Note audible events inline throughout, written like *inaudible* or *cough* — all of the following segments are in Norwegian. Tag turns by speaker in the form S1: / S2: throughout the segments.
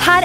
S1: her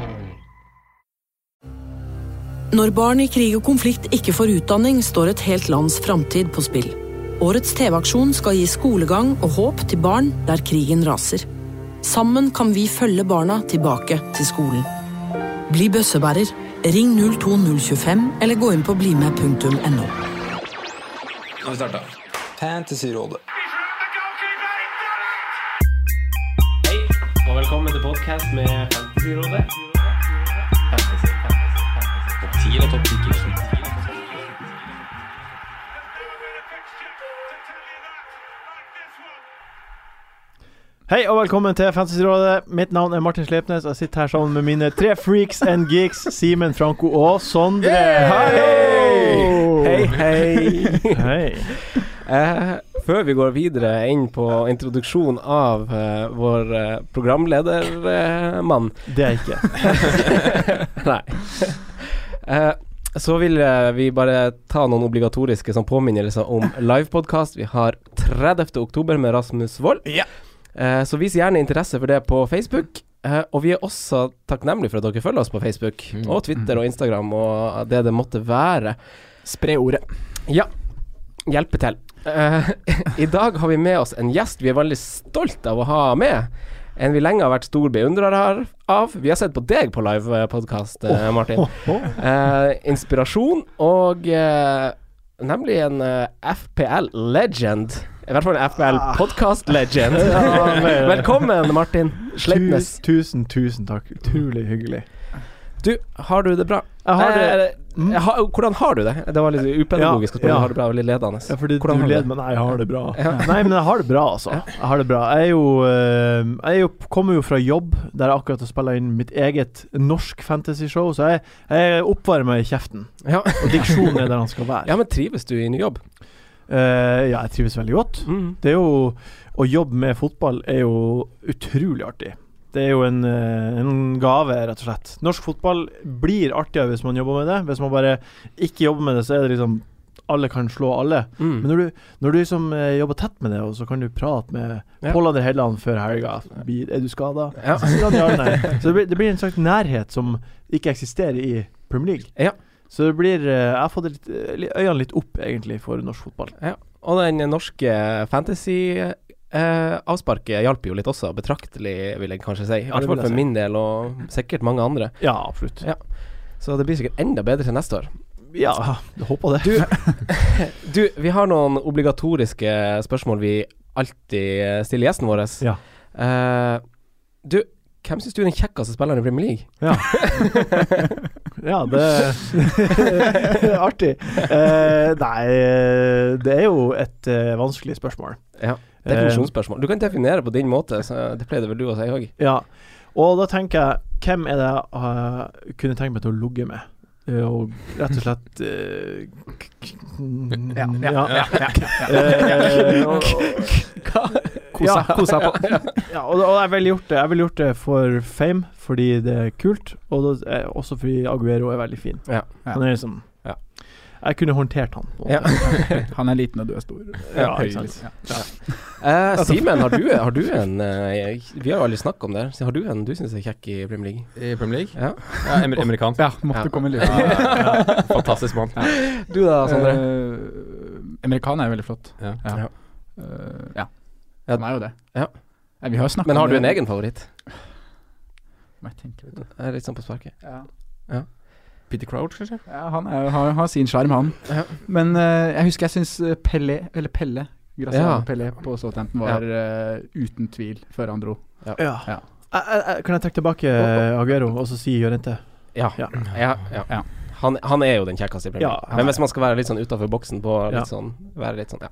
S2: Når barn i krig og konflikt ikke får utdanning, står et helt lands framtid på spill. Årets TV-aksjon skal gi skolegang og håp til barn der krigen raser. Sammen kan vi følge barna tilbake til skolen. Bli bøssebærer. Ring 02025 eller gå inn på blimed.no.
S3: Nå har vi starta. Fantasyrådet. Hei, og velkommen til podkast med Fantasyrådet. Fantasy, fantasy, fantasy. Topp 10 eller topp 10
S4: Hei og velkommen til Fantasyrådet. Mitt navn er Martin Slepnes. Jeg sitter her sammen med mine tre freaks and geeks, Simen, Franco og Sondre.
S3: Hei,
S4: Hei!
S3: hei.
S4: Hei.
S3: Eh, *laughs* før vi går videre inn på introduksjon av eh, vår eh, programledermann *laughs*
S4: Det er jeg ikke.
S3: Nei. Eh, så vil eh, vi bare ta noen obligatoriske sånn, påminnelser om livepodkast. Vi har 30. oktober med Rasmus Wold. Eh, så vis gjerne interesse for det på Facebook. Eh, og vi er også takknemlige for at dere følger oss på Facebook og Twitter og Instagram og det det måtte være. Spre ordet. Ja. Hjelpe til. Eh, *laughs* I dag har vi med oss en gjest vi er veldig stolt av å ha med. En vi lenge har vært stor beundrer her av. Vi har sett på deg på livepodkast, Martin. Eh, inspirasjon og eh, nemlig en eh, FPL-legend. I hvert fall en
S4: Ah. *laughs*
S3: FPL-podkast-legend.
S4: men-
S3: Velkommen, Martin Sleipnes.
S4: Tu- Tusen, tusen takk. Utrolig hyggelig.
S3: Du, har du det bra?
S4: Jeg har det-
S3: Eh, eh, ha, hvordan har du det? Det var litt upedagogisk.
S4: Ja,
S3: Ja,
S4: ja.
S3: Har det bra, veldig ledende.
S4: Ja, fordi
S3: Hvordan
S4: du
S3: har du
S4: leder
S3: det?
S4: meg. Nei, jeg har det bra.
S3: Ja.
S4: Nei, men jeg har det bra, altså. Jeg har det bra. Jeg er jo, eh, jeg er jo kommer jo fra jobb, der jeg akkurat har spilla inn mitt eget norsk fantasyshow, så jeg, jeg oppvarer meg i kjeften.
S3: Ja.
S4: Og diksjonen er der han skal være.
S3: ja, men trives du i ny jobb?
S4: Eh, ja, jeg trives veldig godt.
S3: Mm.
S4: Det er jo Å jobbe med fotball er jo utrolig artig. Det er jo en, eh, en gave, rett og slett. Norsk fotball blir artigere hvis man jobber med det. Hvis man bare ikke jobber med det, så er det liksom Alle kan slå alle. Men
S3: Mm.
S4: når du, når du liksom eh, jobber tett med det, og så kan du prate med
S3: Ja.
S4: Pål André Helland før helga Blir- Er du skada?
S3: Ja.
S4: Så sier han ja
S3: *laughs*
S4: eller nei. Så det blir, det blir en slags nærhet som ikke eksisterer i Premier League.
S3: Ja.
S4: Så det blir eh, Jeg har fått litt, eh, øynene litt opp, egentlig, for norsk fotball.
S3: Ja. Og den norske fantasy-avsparket hjalp jo litt også, betraktelig, vil jeg kanskje si. I hvert
S4: det vil
S3: fall
S4: jeg
S3: for
S4: si.
S3: min del, og sikkert mange andre.
S4: Ja, absolutt.
S3: Ja. Så det blir sikkert enda bedre til neste år.
S4: Ja, jeg håper det.
S3: *laughs* Du, vi har noen obligatoriske spørsmål vi alltid stiller gjesten vår.
S4: Ja.
S3: Eh, du, hvem syns du er den kjekkeste spilleren i Premier League?
S4: Ja, ja det er *laughs* Artig. Eh, nei, det er jo et eh, vanskelig spørsmål.
S3: Ja. Definisjonsspørsmål. Du kan definere på din måte, så det pleide vel du å si òg.
S4: Ja, og da tenker jeg Hvem er det jeg eh, kunne tenkt meg til å ligge med? Eh, Og rett og slett eh, k- k- mm, Ja. *laughs* Eh, og- Ja,
S3: Kose deg på.
S4: ja, og, og jeg ville gjort det Jeg ville gjort det for fame, fordi det er kult, og da, eh, også fordi Aguero er veldig fin.
S3: Ja.
S4: Han er liksom
S3: Ja.
S4: Jeg kunne håndtert han. på en
S3: Ja.
S4: måte.
S5: Han er liten, og du er stor.
S3: Ja,
S4: ikke
S3: *laughs*
S4: sant.
S3: Eh, Simen, har, du- har du en eh, Vi har jo aldri snakket om det. her. Så Har du en du syns er kjekk i Premier League?
S6: I Premier League?
S3: Ja.
S6: Ja, amer amerikansk.
S5: Ja, måtte
S6: Ja.
S5: komme litt.
S6: Ja, ja, ja. Fantastisk mann.
S3: Du da, Sondre?
S5: Eh, Amerikaner er veldig flott.
S6: Ja.
S5: Ja.
S3: Ja.
S5: Eh, ja.
S3: Ja.
S5: Han er jo det.
S3: Ja.
S5: Nei, vi har jo snakket
S3: Men har
S5: om
S3: du
S5: det.
S3: en egen favoritt?
S5: Må jeg tenke litt.
S3: Jeg er litt sånn på sparket.
S5: Ja.
S3: Ja.
S5: Peter Crouch, kanskje? Ja, han er, har, har sin sjarm, han. Men eh, jeg husker jeg syns Pelle, eller Pelle Graziano
S4: Ja.
S5: Pelle på Southampton var eh, uten tvil før han dro.
S3: Ja.
S4: Jeg- jeg- jeg- Eh, Kan jeg trekke tilbake eh, Aguero og så si Jørente?
S3: Ja. ja. ja, Han, han er jo den kjekkeste i Premier
S4: Ja,
S3: League.
S4: han
S3: Men
S4: er-
S3: hvis man skal være litt sånn utafor boksen på litt
S4: Ja.
S3: sånn, være litt sånn, ja.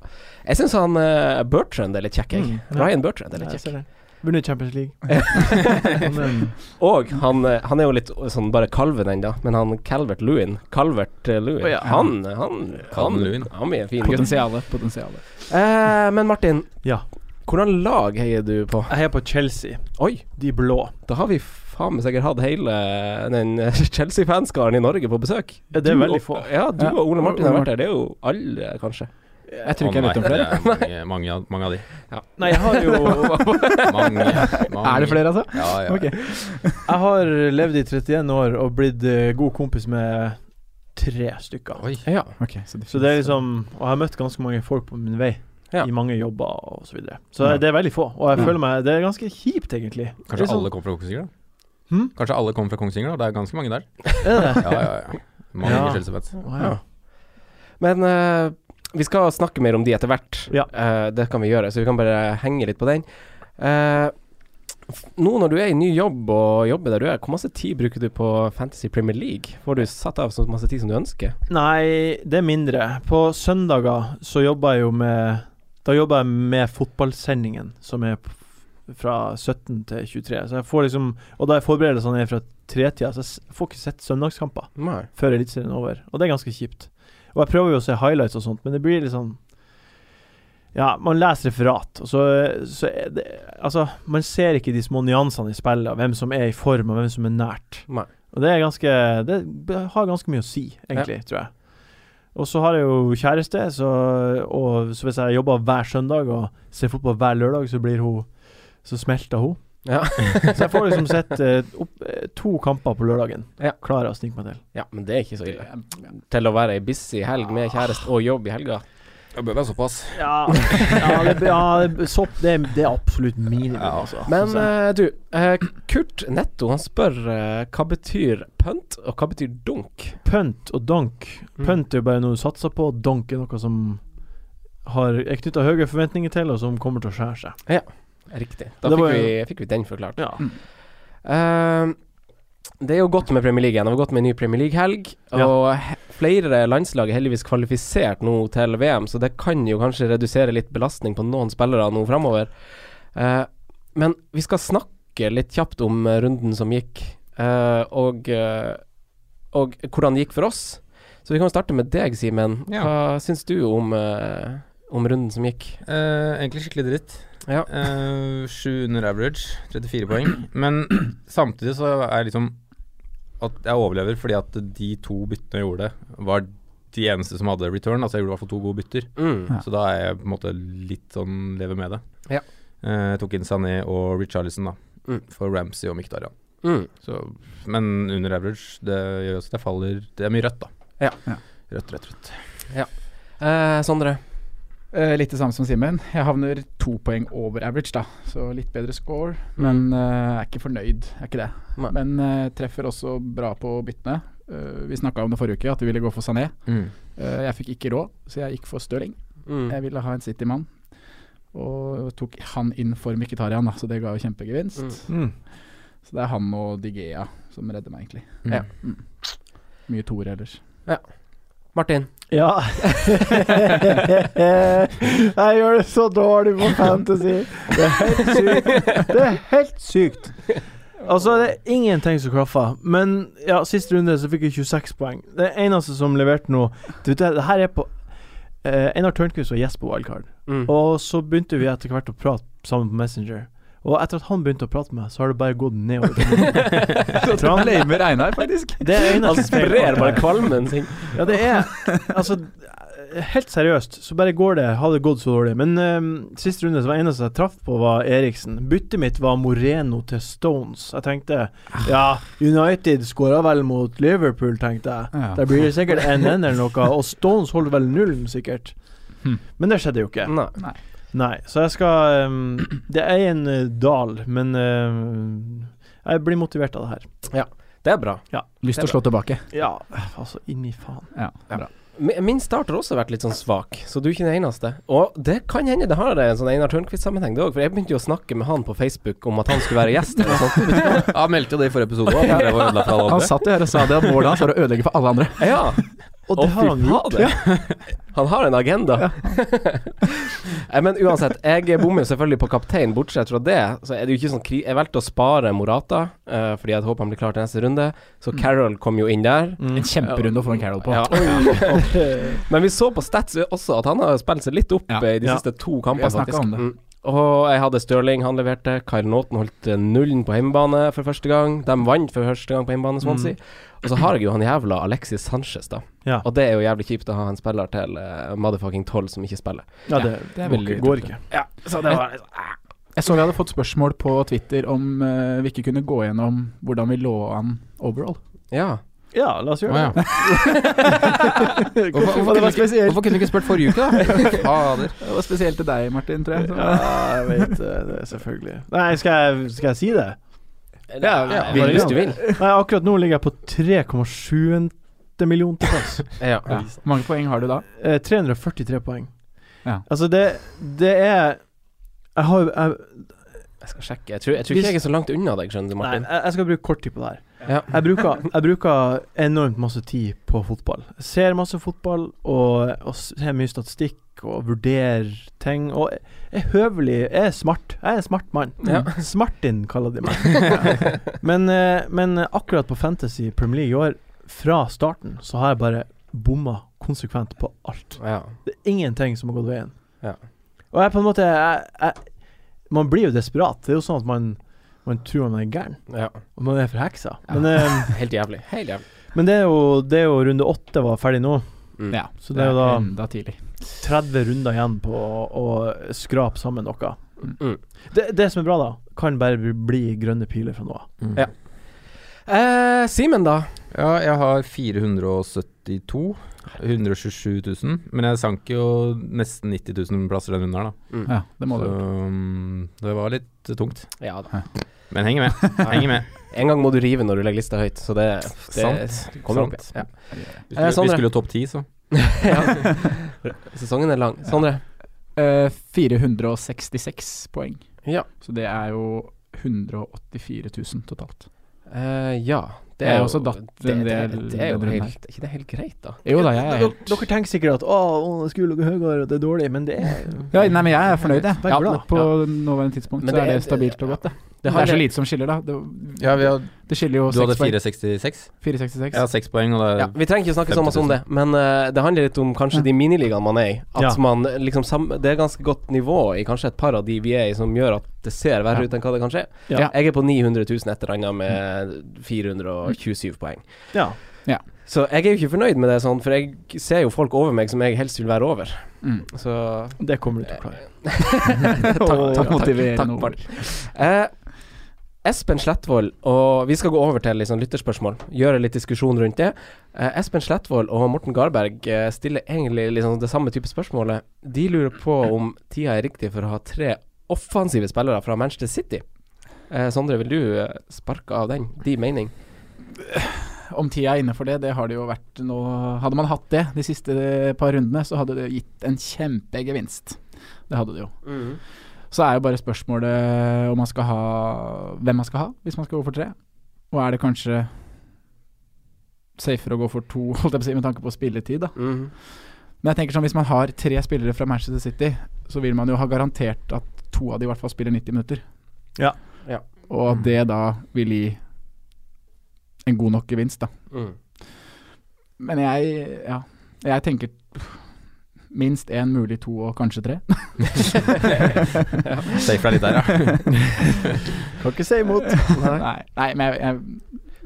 S3: Jeg syns han eh, Bertrand er litt kjekk, jeg.
S4: Mm, ja.
S3: Ryan Bertrand er litt
S4: Ja, jeg
S3: kjekk.
S4: ser det. Vunnet Champions
S5: *laughs*
S4: League. *laughs* Men-
S3: Og han, eh, han er jo litt sånn bare kalven ennå, men han Calvert Lewin Calvert eh, Lewin,
S5: Å, ja.
S3: han, han kan
S5: Calvin Lewin.
S3: Han blir en fin gutt.
S5: Potensialet. Potensialet.
S3: Eh, men Martin,
S4: Ja
S3: hvordan lag heier du på?
S4: Jeg heier på Chelsea.
S3: Oi
S4: De blå.
S3: Da har vi faen meg sikkert hatt hele den eh, *laughs* Chelsea-fanskaren i Norge på besøk.
S4: Ja, det er
S3: Du
S4: veldig
S3: og-
S4: få.
S3: Ja, du
S4: Ja,
S3: og Ole Martin
S4: Ole
S3: har vært
S4: Martin.
S3: der. Det er jo alle, kanskje.
S4: Jeg tror ikke jeg vet om flere.
S6: Å nei, *laughs* det er mange, mange, av- mange av de.
S4: Nei, jeg har jo
S3: *laughs*
S6: *laughs* mange, mange.
S4: Er det flere, altså?
S6: Ja, ja.
S4: Ok. Jeg har levd i 31 år og blitt eh, god kompis med tre stykker.
S3: Ja,
S5: ok Så det,
S4: Så det er liksom Og jeg har møtt ganske mange folk på min vei.
S3: Ja.
S4: I mange jobber og så videre. Så
S6: Ja.
S4: det er veldig få. Og jeg
S6: Ja.
S4: føler meg Det er ganske kjipt, egentlig.
S6: Kanskje alle kommer fra Kongsvinger, da?
S4: Hmm?
S6: Kanskje alle kommer fra Kongsvinger, da? Det er ganske mange der.
S4: Er det?
S6: Ja, ja, ja. Mange
S4: Ja.
S6: Chelsea-fans.
S4: Å, ja.
S3: Men eh, vi skal snakke mer om de etter hvert.
S4: Ja.
S3: Eh, det kan vi gjøre, så vi kan bare henge litt på den. Eh, f- nå når du er i ny jobb og jobber der du er, hvor masse tid bruker du på Fantasy Premier League? Får du satt av så masse tid som du ønsker?
S4: Nei, det er mindre. På søndager så jobber jeg jo med Da jobber jeg med fotballsendingen, som er p- fra 17 til 23. Så jeg får liksom Og da er forberedelsene er fra tretida, så jeg s- får ikke sett søndagskamper
S3: Nei.
S4: før Eliteserien er over. Og det er ganske kjipt. Og jeg prøver jo å se highlights og sånt, men det blir litt sånn ja, man leser referat, og så, så er det Altså, man ser ikke de små nyansene i spillet, hvem som er i form, og hvem som er nært.
S3: Nei.
S4: Og det er ganske Det b- har ganske mye å si, egentlig, tror jeg. Og så har jeg jo kjæreste, så, og så hvis jeg jobber hver søndag og ser fotball hver lørdag, så blir hun Så smelter hun.
S3: Ja.
S4: så jeg får
S3: *laughs*
S4: liksom sett eh, opp, eh, to kamper på lørdagen.
S3: Ja.
S4: Klarer jeg å snike meg til.
S3: Ja, men det er ikke så ille. Til å være ei busy helg med kjæreste og jobb i helga.
S6: Det bør være såpass.
S4: Ah. Ja, ja, det, ja det, sopp, det, det er absolutt minimum, altså.
S3: Men
S4: synes jeg.
S3: eh, du, eh, Kurt Netto han spør eh, hva betyr pønt, og hva betyr dunk?
S4: Punt og donk. Punt er jo bare noe du satser på, og donk er noe som har, er knytta høye forventninger til, og som kommer til å skjære seg.
S3: Riktig. Da
S4: Det
S3: fikk
S4: var
S3: vi,
S4: jo-
S3: fikk vi den forklart.
S4: Ja.
S3: Eh, det er jo godt med Premier League igjen. Det var godt med en ny Premier League-helg. Og he- flere landslag er heldigvis kvalifisert nå til VM, så det kan jo kanskje redusere litt belastning på noen spillere nå framover. Eh, men vi skal snakke litt kjapt om eh, runden som gikk, eh, og, eh, og hvordan det gikk for oss. Så vi kan jo starte med deg, Simen. Hva syns du om, eh, om runden som gikk?
S6: Eh, egentlig skikkelig dritt.
S3: Ja.
S6: Eh, Sju under average, 34 poeng.
S3: *clears throat*
S6: Men samtidig så er liksom at jeg overlever fordi at de to byttene jeg gjorde, var de eneste som hadde return. Altså jeg gjorde i hvert fall to gode bytter.
S3: Mm.
S5: Ja.
S6: Så da er jeg på en måte litt sånn lever med det.
S3: Ja.
S6: Eh, jeg tok inn Sané og Richarlison da,
S3: Mm.
S6: for Ramsey og Mkhitaryan.
S3: Mm.
S6: Så, men under average, det gjør også at jeg faller Det er mye rødt, da.
S3: Ja.
S5: Ja.
S6: Rødt, rødt, rødt.
S3: Eh, Sondre?
S5: Eh, litt det samme som Simen. Jeg havner to poeng over average, da. Så litt bedre score. Men eh, er ikke fornøyd, er ikke det.
S3: Nei.
S5: Men eh, treffer også bra på byttene. Eh, vi snakka om det forrige uke, at vi ville gå for Sané.
S6: Mm.
S5: Eh, jeg fikk ikke råd, så jeg gikk for Stirling.
S3: Mm.
S5: Jeg ville ha en City-mann. Og tok han inn for Mkhitarian, da, så det ga jo kjempegevinst.
S4: Mm.
S5: Så det er han og Digea som redder meg, egentlig.
S6: Mm.
S3: Ja.
S5: Mm. Mye toer ellers.
S3: Martin?
S4: Ja. *laughs* jeg gjør det så dårlig på fantasy. Det er helt sykt. Det er helt sykt. Altså, det er ingenting som klaffer. Men ja, sist runde så fikk jeg 26 poeng. Det eneste som leverte noe Du, det, det her er på eh, Einar Tørnquist var gjest på Wildcard.
S3: Mm.
S4: Og så begynte vi etter hvert å prate sammen på Messenger. Og etter at han begynte å prate med meg, så har det bare gått nedover. Så han-
S5: Blamer Einar, faktisk.
S4: det er eneste
S3: Han
S4: som er
S3: sprer
S4: klart
S3: bare
S4: her.
S3: kvalmen sin.
S4: Ja, det er Altså, helt seriøst, så bare går det. Har det gått så dårlig? Men ehm, siste runde så var det eneste jeg traff på, var Eriksen. Byttet mitt var Moreno til Stones. Jeg tenkte ja, United skåra vel mot Liverpool, tenkte jeg.
S5: Ja.
S4: Der blir det sikkert 1-1 eller noe, og Stones holder vel nullen, sikkert.
S5: Hmm.
S4: Men det skjedde jo ikke.
S3: Nei.
S4: Nei, så jeg skal ehm, Det er en eh, dal, men ehm, jeg blir motivert av det her.
S3: Det er bra.
S5: Lyst til å slå tilbake.
S4: Ja, altså inn i faen.
S5: Ja, bra.
S3: Mi- Min start har også vært litt sånn svak, så du er ikke den eneste. Og det kan hende det har en sånn Einar Tørnquist-sammenheng, det òg, for jeg begynte jo å snakke med han på Facebook om at han skulle være gjest. Eller noe sånt.
S6: *laughs* Ja, han meldte jo det i forrige episode òg.
S5: Han satt jo her og sa det at målet hans var å ødelegge for alle andre.
S3: Ja.
S5: Og det
S3: Å,
S5: har
S3: fy
S5: han gjort.
S3: fader. Han har en agenda. *laughs* Nei, Men uansett, jeg bommer jo selvfølgelig på kaptein. Bortsett fra det, så er det jo ikke sånn kri... Jeg valgte å spare Morata, eh, fordi jeg håper han blir klar til neste runde. Så
S5: Mm.
S3: Carol kom jo inn der.
S5: En kjemperunde å få en Carol på.
S3: Ja. Men vi så på Stats også at han har spilt seg litt opp
S5: Ja.
S3: eh, i de
S5: Ja.
S3: siste to kampene,
S5: Vi har snakket
S3: faktisk.
S5: om det.
S3: Mm. Og jeg hadde Stirling, han leverte. Kyle Naughton holdt eh, nullen på hjemmebane for første gang. De vant for første gang på hjemmebane, Swansea. Og så har jeg jo han jævla Alexis Sanchez, da.
S4: Ja.
S3: Og det er jo jævlig kjipt å ha en spiller til eh, motherfucking 12 som ikke spiller.
S4: Ja, det,
S5: det er
S4: går
S5: veldig
S4: ikke- går ikke.
S5: Så det var liksom, ah. Jeg så vi hadde fått spørsmål på Twitter om eh, vi ikke kunne gå gjennom hvordan vi lå an overall.
S3: Ja.
S4: Ja, la oss gjøre det.
S6: Hvorfor,
S5: Det var
S6: hvorfor, kunne du ikke,
S5: spesielt.
S6: hvorfor kunne du ikke spurt forrige uke, da? Fader.
S5: Det var spesielt til deg, Martin, tror jeg. Så.
S4: Ja, jeg vet det, det, er selvfølgelig. Nei, skal jeg, skal jeg si det?
S3: ja, vil, hvis du vil.
S4: Nei, akkurat nå ligger jeg på 3,7 million til plass.
S3: Ja.
S5: *laughs* Ja. Hvor mange poeng har du da?
S4: Eh, 343 poeng.
S5: Ja.
S4: Altså, det, det er Jeg har jo jeg,
S3: Jeg skal sjekke. Jeg tror, jeg tror ikke jeg er så langt unna deg, skjønner du,
S4: Nei,
S3: Martin.
S4: jeg, jeg skal bruke kort tid på det her.
S3: Ja.
S4: Jeg bruker, jeg bruker enormt masse tid på fotball. Jeg ser masse fotball og, og ser mye statistikk og vurderer ting. Og jeg er høvelig, jeg er smart. Jeg er en smart mann.
S3: Ja.
S4: Smartin kaller
S3: *laughs*
S4: de meg. men, eh, men akkurat på Fantasy Premier League i år, fra starten, så har jeg bare bomma konsekvent på alt.
S3: Ja.
S4: Det er ingenting som har gått veien.
S3: Ja.
S4: Og jeg på en måte jeg, jeg, Man blir jo desperat. Det er jo sånn at man, man tror man er gæren.
S3: ja.
S4: Og man er forheksa. Men, eh,
S3: Helt jævlig. Helt jævlig.
S4: men det, er jo, det er jo runde åtte var ferdig nå.
S3: Mm.
S5: Ja,
S4: Så det er jo da
S5: enda tidlig.
S4: 30 runder igjen på å, å skrape sammen noe.
S3: Mm.
S4: Det, det som er bra, da, kan bare bli- bli grønne piler fra nå av.
S3: Ja. Eh, Simen, da?
S6: Ja, jeg har 472 127 000, men jeg sank jo nesten 90 000 plasser den runden her, da.
S5: Ja, det må
S6: Så
S5: du.
S6: um, det var litt tungt.
S3: Ja da.
S6: Men henger med. Henger med.
S3: *laughs* En gang må du rive når du legger lista høyt, så det, det
S6: Sant.
S3: kommer opp.
S6: Sant.
S3: Ja.
S6: Vi
S3: Eh,
S6: skulle,
S3: Sondre.
S6: vi skulle jo topp ti,
S3: *laughs*
S6: så. *laughs*
S3: Sesongen er lang. Sondre?
S5: Eh, 466 poeng.
S3: Ja.
S5: Så det er jo 184 000 totalt.
S3: Eh, ja. Det
S5: Jeg
S3: er
S5: har
S3: jo
S5: også datt en
S3: det, det, det,
S5: del
S3: er jo
S5: runder.
S3: helt, ikke det helt greit, da?
S5: Jo da, jeg er
S4: Dere,
S5: helt
S4: dere tenker sikkert at å, å, det skulle ligget høyere, det er dårlig, men det er
S5: ja, Nei, men jeg er fornøyd, jeg.
S4: Vær glad.
S5: på nåværende tidspunkt
S3: Men
S5: så
S3: det
S5: er
S3: er-
S5: det stabilt og godt, det. Det,
S3: handler-
S5: er så lite som skiller, da. Det,
S6: Ja, vi har,
S5: det skiller jo
S6: du hadde
S5: 6 poeng.
S6: 466? Jeg
S5: 466.
S6: har seks poeng, og det er
S3: Ja, vi trenger ikke snakke så masse om det, men eh, det handler litt om kanskje de miniligaene man er i. At
S4: Ja.
S3: man liksom sam Det er ganske godt nivå i kanskje et par av de vi er i, som gjør at det ser verre ut enn hva det kan skje.
S4: Ja.
S3: Jeg er på 900 000 et eller annet med 427 poeng.
S4: Ja.
S3: Så jeg er jo ikke fornøyd med det sånn, for jeg ser jo folk over meg som jeg helst vil være over.
S5: Mm.
S3: Så
S4: Det kommer du til å klare.
S3: takk,
S5: takk, motiverende ord.
S3: Eh, Espen Slettvold, og vi skal gå over til liksom lytterspørsmål, gjøre litt diskusjon rundt det. Eh, Espen Slettvold og Morten Garberg eh, stiller egentlig liksom det samme type spørsmålet. De lurer på om tida er riktig for å ha tre offensive spillere fra Manchester City. Eh, Sondre, vil du eh, sparke av den? Din mening?
S5: Om tida er inne for det, det har det jo vært nå Hadde man hatt det de siste par rundene, så hadde det gitt en kjempegevinst. Det hadde det jo. Så er jo bare spørsmålet om man skal ha hvem man skal ha, hvis man skal gå for tre. Og er det kanskje safere å gå for to, *laughs* holdt jeg på å si, med tanke på spilletid, da.
S3: Mhm.
S5: Men jeg tenker sånn, hvis man har tre spillere fra Manchester City, så vil man jo ha garantert at to av de i hvert fall spiller 90 minutter.
S4: Ja.
S3: Ja.
S5: Og at det da vil gi en god nok gevinst, da.
S3: Mhm.
S5: Men jeg, ja, jeg tenker minst én, mulig to og kanskje tre.
S6: *laughs* Safe deg litt der, ja.
S4: Kan ikke si imot.
S5: Nei, nei, men jeg, jeg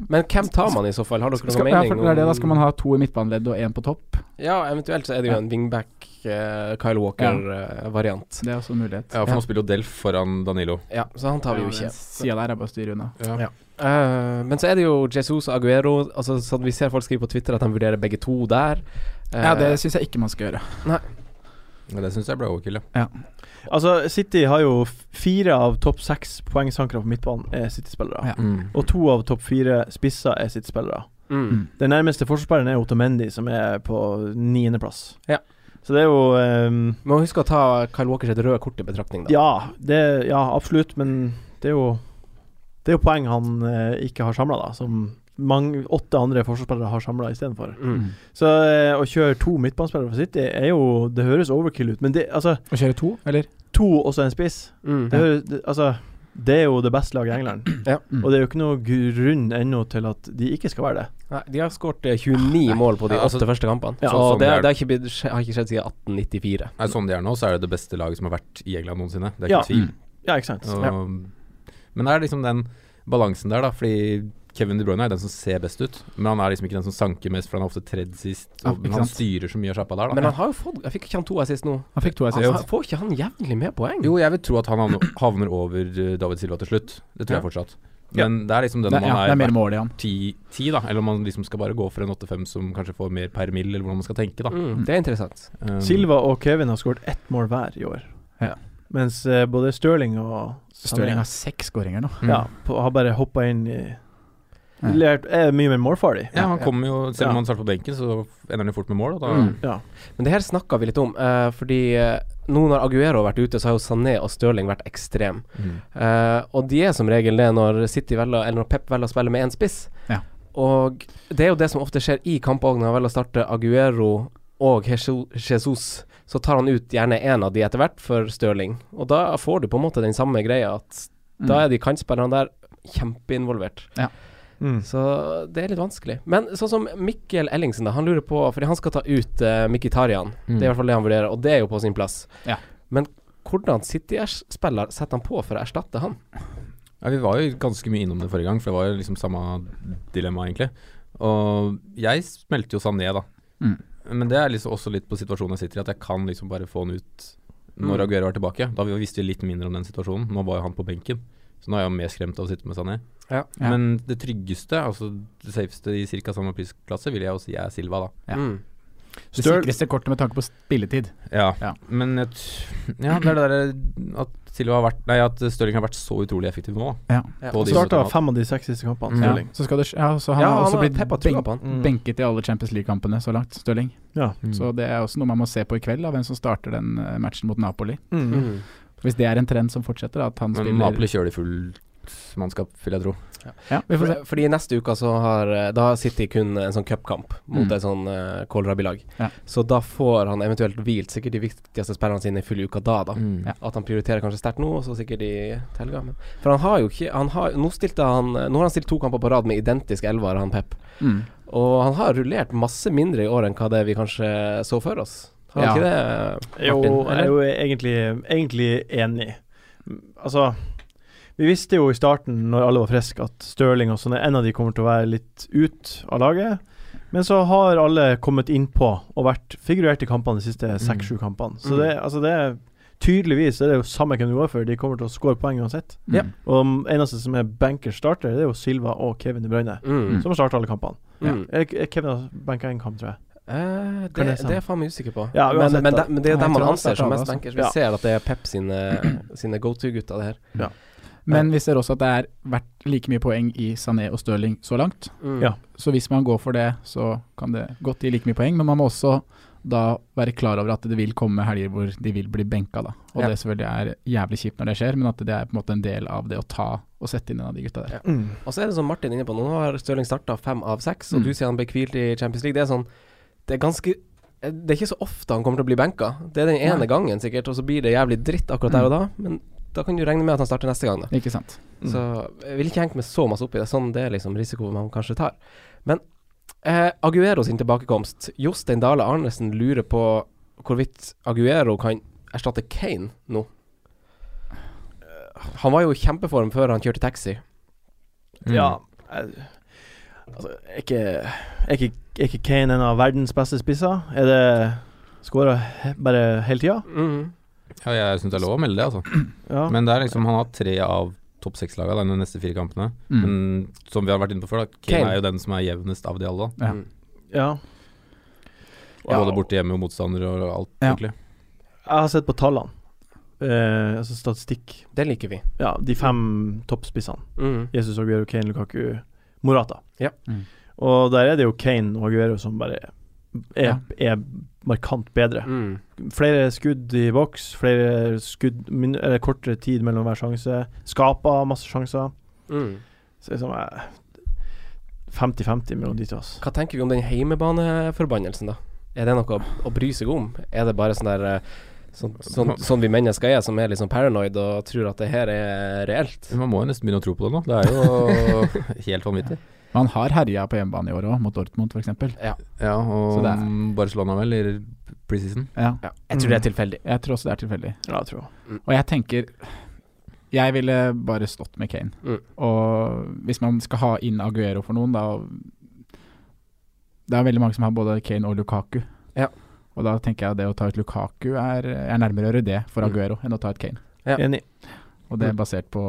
S3: Men hvem tar man i så fall? Har dere
S5: skal,
S3: noen
S5: ja,
S3: mening?
S5: for det er det, da
S3: om-
S5: skal man ha to i midtbaneleddet og én på topp.
S3: Ja, eventuelt så er det jo
S5: Ja.
S3: en wingback eh, Kyle eh, Walker-variant.
S5: Det er også en mulighet.
S6: ja. For nå spiller jo Delf foran Danilo.
S3: Ja. så han tar vi jo ikke.
S5: Sida der er bare å styre unna.
S3: Ja. Eh, men så er det jo Jesus og Aguero. Altså sånn Vi ser folk skrive på Twitter at de vurderer begge to der. Eh,
S5: Ja, det syns jeg ikke man skal gjøre.
S3: Nei.
S6: Ja, det syns jeg ble overkill,
S5: ja.
S4: Altså, City har jo f- fire av topp seks poengsankere på midtbanen er City-spillere.
S5: Ja.
S6: Mm.
S4: Og to av topp fire spisser er City-spillere.
S3: Mm.
S4: Den nærmeste forsvarsspilleren er Otamendi, som er på niendeplass.
S3: Ja.
S4: Så det er jo ehm,
S3: Man må huske å ta Kyle Walkers et røde kort i betraktning, da.
S4: ja, det, ja, absolutt, men det er jo Det er jo poeng han eh, ikke har samla, da. Som mange, åtte andre forsvarsspillere har samla istedenfor.
S3: Mm.
S4: Så eh, å kjøre to midtbanespillere for City er jo Det høres overkill ut, men det altså
S5: Å kjøre to, eller?
S4: To og så en spiss.
S3: Mm.
S4: Det, høres, det, altså, det er jo det beste laget i
S6: *clears throat*
S4: England.
S3: Ja.
S4: Og det er jo ikke noe grunn ennå til at de ikke skal være det.
S3: Nei, de har skåret 29 mål på de
S6: Ja, altså-
S3: åtte første kampene.
S6: Ja,
S3: så
S6: sånn
S3: det,
S6: det er.
S3: det har ikke, blitt, skje- har ikke skjedd siden 1894.
S6: Nei, Sånn de er nå, så er det det beste laget som har vært i England noensinne. Det er
S4: Ja.
S6: ikke tvil.
S4: Ja, ikke sant.
S6: Og,
S4: Ja.
S6: Men det er liksom den balansen der, da. Fordi Kevin De Bruyne er den som ser best ut, men han er liksom ikke den som sanker mest, for han er ofte tredd sist.
S5: Ja,
S6: Og,
S5: ikke
S6: men han
S5: sant.
S6: styrer så mye av sjappa der, da.
S3: Men han har jo fått Jeg fikk ikke han to assist nå.
S5: Han fikk to assist.
S3: Altså, får ikke han jevnlig med poeng?
S6: Jo, jeg vil tro at han havner- havner over eh, David Silva til slutt. Det tror jeg
S3: Ja.
S6: fortsatt. Men det er liksom den
S5: Det
S6: om
S5: er- ja, det er
S6: han
S5: mer
S6: er,
S5: mål i han.
S6: ti, ti, da. Eller om han liksom skal bare gå for en 8-5 som kanskje får mer per mil, eller hvordan man skal tenke, da.
S3: Mm, det er interessant.
S6: Um,
S4: Silva og Kevin har skåret ett mål hver i år.
S5: Ja.
S4: Mens eh, både Stirling og
S5: Stirling har seks skåringer nå.
S4: ja, på, har bare hoppa inn i
S5: Ja.
S4: Lært, Er mye mer målfarlig.
S6: Ja, han
S5: Ja.
S6: kommer jo Selv om
S4: Ja.
S6: han starter på benken, så ender han jo fort med mål. Og da
S3: Mm.
S4: Ja.
S3: Men det her snakka vi litt om, eh, fordi eh, nå når Aguero har vært ute, så har jo Sané og Stirling vært ekstrem
S6: Mm.
S3: Eh, og de er som regel det når City velger, eller når Pep velger å spille med én spiss.
S5: Ja.
S3: Og det er jo det som ofte skjer i kamper også, når han velger å starte Aguero og Jesu- Jesus. Så tar han ut gjerne én av de etter hvert for Stirling, og da får du på en måte den samme greia at da er de kantspillerne der kjempeinvolvert.
S4: Mm.
S3: Så det er litt vanskelig. Men sånn som Mikkel Ellingsen, da. Han lurer på Fordi han skal ta ut uh, Mkhitaryan.
S6: Mm.
S3: Det er i hvert fall det han vurderer, og det er jo på sin plass.
S5: Ja.
S3: Men hvordan City-spiller setter han på for å erstatte han?
S6: Ja, Vi var jo ganske mye innom det forrige gang, for det var jo liksom samme dilemma, egentlig. Og jeg smelte jo Sané, da.
S5: Mm.
S6: Men det er liksom også litt på situasjonen jeg sitter i, at jeg kan liksom bare få han ut når
S3: Mm.
S6: Aguero er tilbake. Da vi- visste vi litt mindre om den situasjonen. Nå var jo han på benken, så nå er jeg jo mer skremt av å sitte med Sané.
S3: Ja.
S5: Ja.
S6: Men det tryggeste, altså det safeste i ca. samme prisklasse, vil jeg jo si er Silva, da.
S5: Ja.
S3: Mm.
S5: Det
S4: Stirl-
S5: sikreste kortet med tanke på spilletid.
S6: Ja,
S5: Ja.
S6: men jeg t ja, det er det derre at Silva har vært Nei, at Stirling har vært så utrolig effektiv nå, da.
S5: Ja.
S3: Ja.
S6: På de
S4: Starta
S6: resultatene.
S4: fem av de seks siste kampene.
S6: Mm.
S5: Ja.
S4: Stirling.
S5: Så skal det, ja, så han
S3: Ja,
S5: har
S3: han
S5: også
S3: har
S5: blitt
S3: Pep har trua
S5: benk-
S3: på han.
S4: Mm.
S5: benket i alle Champions League-kampene så langt, Stirling.
S4: Ja.
S6: Mm.
S5: Så det er også noe man må se på i kveld, da, hvem som starter den eh, matchen mot Napoli.
S4: Mm.
S3: Mm.
S5: Hvis det er en trend som fortsetter, da, at han
S6: Men
S5: spiller
S6: Napoli kjører de fullt mannskap, vil jeg tro.
S5: Ja, vi får se.
S3: For, fordi neste uke så har eh, Da har City kun en sånn cupkamp mot
S5: Mm.
S3: et sånn uh, kålrabilag.
S5: Ja.
S3: Så da får han eventuelt hvilt sikkert de viktigste spillerne sine i full uke da, da.
S6: Mm.
S5: Ja.
S3: At han prioriterer kanskje sterkt nå, og så sikkert i til helga. Men for han har jo ikke han har, nå, stilte han, nå har han stilt to kamper på rad med identiske elver, han Pep.
S5: Mm.
S3: Og han har rullert masse mindre i år enn hva det vi kanskje så for oss. Har han ikke det,
S4: Jo,
S3: Martin?
S4: jeg er jo egentlig, egentlig enig. M, Altså Vi visste jo i starten, når alle var friske, at Stirling og sånne, en av de kommer til å være litt ut av laget. Men så har alle kommet innpå og vært figurert i kampene de siste seks-sju kampene. Så
S3: Mm.
S4: det, altså det er Tydeligvis er det jo samme hvem du går for, de kommer til å score poeng uansett.
S5: Ja.
S4: Og m- eneste som er bankers starter, det er jo Silva og Kevin De Bruyne,
S3: Mm.
S4: som har starta alle kampene.
S3: Mm.
S4: Eh, K- Kevin har banka én kamp, tror jeg.
S3: Eh, det,
S4: Kan
S3: det
S4: det stemme?
S3: er jeg faen meg usikker på.
S4: Ja,
S3: men,
S4: uansett,
S3: men,
S4: da.
S3: det, men det er jo
S5: Nei, jeg
S3: dem man
S5: tror han
S3: anser som
S5: starter,
S3: mest
S5: altså.
S3: bankers. Vi
S4: Ja.
S3: ser at det er Pep sine, sine *clears throat* go to-gutter, det her.
S5: Men vi ser også at det er vært like mye poeng i Sané og Stirling så langt.
S3: Mm.
S4: Ja.
S5: Så hvis man går for det, så kan det godt gi like mye poeng, men man må også da være klar over at det vil komme helger hvor de vil bli benka, da. Og
S3: Ja.
S5: det selvfølgelig er jævlig kjipt når det skjer, men at det er på en måte en del av det å ta og sette inn en av de gutta der.
S3: Ja.
S4: Mm.
S3: Og så er det som Martin er inne på, nå har Stirling starta fem av seks, og
S5: Mm.
S3: du sier han ble hvilt i Champions League. Det er sånn Det er ganske Det er ikke så ofte han kommer til å bli benka. Det er den ene
S5: Nei.
S3: gangen sikkert, og så blir det jævlig dritt akkurat der og da, men da kan du regne med at han starter neste gang, da.
S5: Ikke sant.
S6: Mm.
S3: Så jeg vil ikke henge meg så masse opp i det. Sånn det er liksom risiko man kanskje tar. Men eh, Aguero sin tilbakekomst. Jostein Dale Arnesen lurer på hvorvidt Aguero kan erstatte Kane nå. Han var jo i kjempeform før han kjørte taxi.
S6: Mm.
S4: Ja jeg, Altså, er ikke, er ikke, er ikke Kane en av verdens beste spisser? Er det Skåra bare hele tida?
S3: Mm.
S6: Ja, jeg syns det er lov å melde det, altså.
S4: Ja.
S6: Men det er liksom han har tre av topp seks-laga de neste fire kampene.
S5: Mm.
S6: Men som vi har vært inne på før, da, Kane,
S3: Kane.
S6: er jo den som er jevnest av de alle. da.
S5: Ja.
S3: Mm.
S4: ja.
S6: Både borte hjemme og motstandere og alt,
S5: Ja.
S6: egentlig.
S4: jeg har sett på tallene. Eh, altså statistikk.
S3: Den liker vi.
S4: Ja, de fem toppspissene.
S3: Mm.
S4: Jesus Aguero, Kane, Lukaku, Morata.
S3: Ja.
S5: Mm.
S4: Og der er det jo Kane og Aguero som bare er, er markant bedre.
S3: Mm.
S4: Flere skudd i boks, flere skudd min, eller kortere tid mellom hver sjanse. Skaper masse sjanser.
S3: Mm.
S4: Så liksom eh, 50-50 mellom de to. ass.
S3: Hva tenker vi om den heimebaneforbannelsen, da? Er det noe å, å bry seg om? Er det bare sånn der eh, Sånn, sånn, sånn vi mennesker er, som er litt sånn paranoid og tror at det her er reelt.
S6: Man må jo nesten begynne å tro på det nå. Det er jo
S3: *laughs*
S6: helt vanvittig.
S5: Man har herja på hjemmebane i år òg, mot Dortmund f.eks.
S3: Ja.
S6: Ja,
S5: Så
S6: og
S5: det
S6: Barcelona vel, i preseason.
S5: Ja.
S3: Ja. Jeg tror det er tilfeldig.
S5: Jeg tror også det er tilfeldig.
S4: Ja, jeg tror
S3: Mm.
S5: Og jeg tenker Jeg ville bare stått med Kane.
S3: Mm.
S5: Og hvis man skal ha inn Aguero for noen, da Det er veldig mange som har både Kane og Lukaku.
S3: Ja.
S5: Og da tenker jeg at det å ta ut Lukaku er, jeg er nærmere å gjøre det for
S3: Mm.
S5: Aguero enn å ta ut Kane.
S3: Ja.
S4: Enig.
S5: Og det er basert på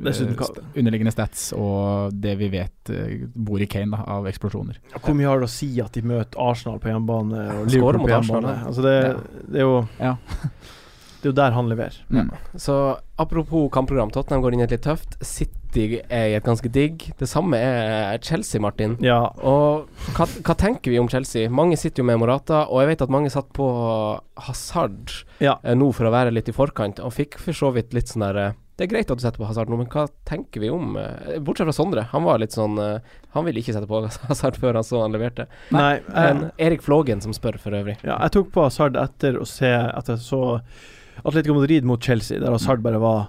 S4: Dessuten
S5: eh,
S4: kan-
S5: st- underliggende stats og det vi vet eh, bor i Kane da, av eksplosjoner.
S4: Hvor mye har det å si at de møter Arsenal på hjemmebane og
S3: Skårer
S4: Liverpool
S3: mot
S4: på
S3: Arsenal,
S4: hjemmebane?
S3: ja.
S4: Altså det, det, er jo,
S5: Ja.
S4: *laughs* det er jo der han leverer.
S5: Mm.
S3: Så apropos kampprogram, Tottenham går inn i et litt tøft. City er i et ganske digg. Det samme er Chelsea, Martin.
S4: Ja,
S3: Og hva, hva tenker vi om Chelsea? Mange sitter jo med Morata, og jeg vet at mange satt på Hazard
S4: Ja.
S3: eh, nå for å være litt i forkant, og fikk for så vidt litt sånn der eh, Det er greit at du setter på Hazard nå, men hva tenker vi om eh, Bortsett fra Sondre, han var litt sånn eh, Han ville ikke sette på *laughs* Hazard før han så han leverte.
S4: Nei, eh, jeg,
S3: Men Erik Flågen som spør, for øvrig.
S4: ja, jeg tok på Hazard etter å se Etter jeg så Atletico Madrid mot Chelsea, der Hazard bare var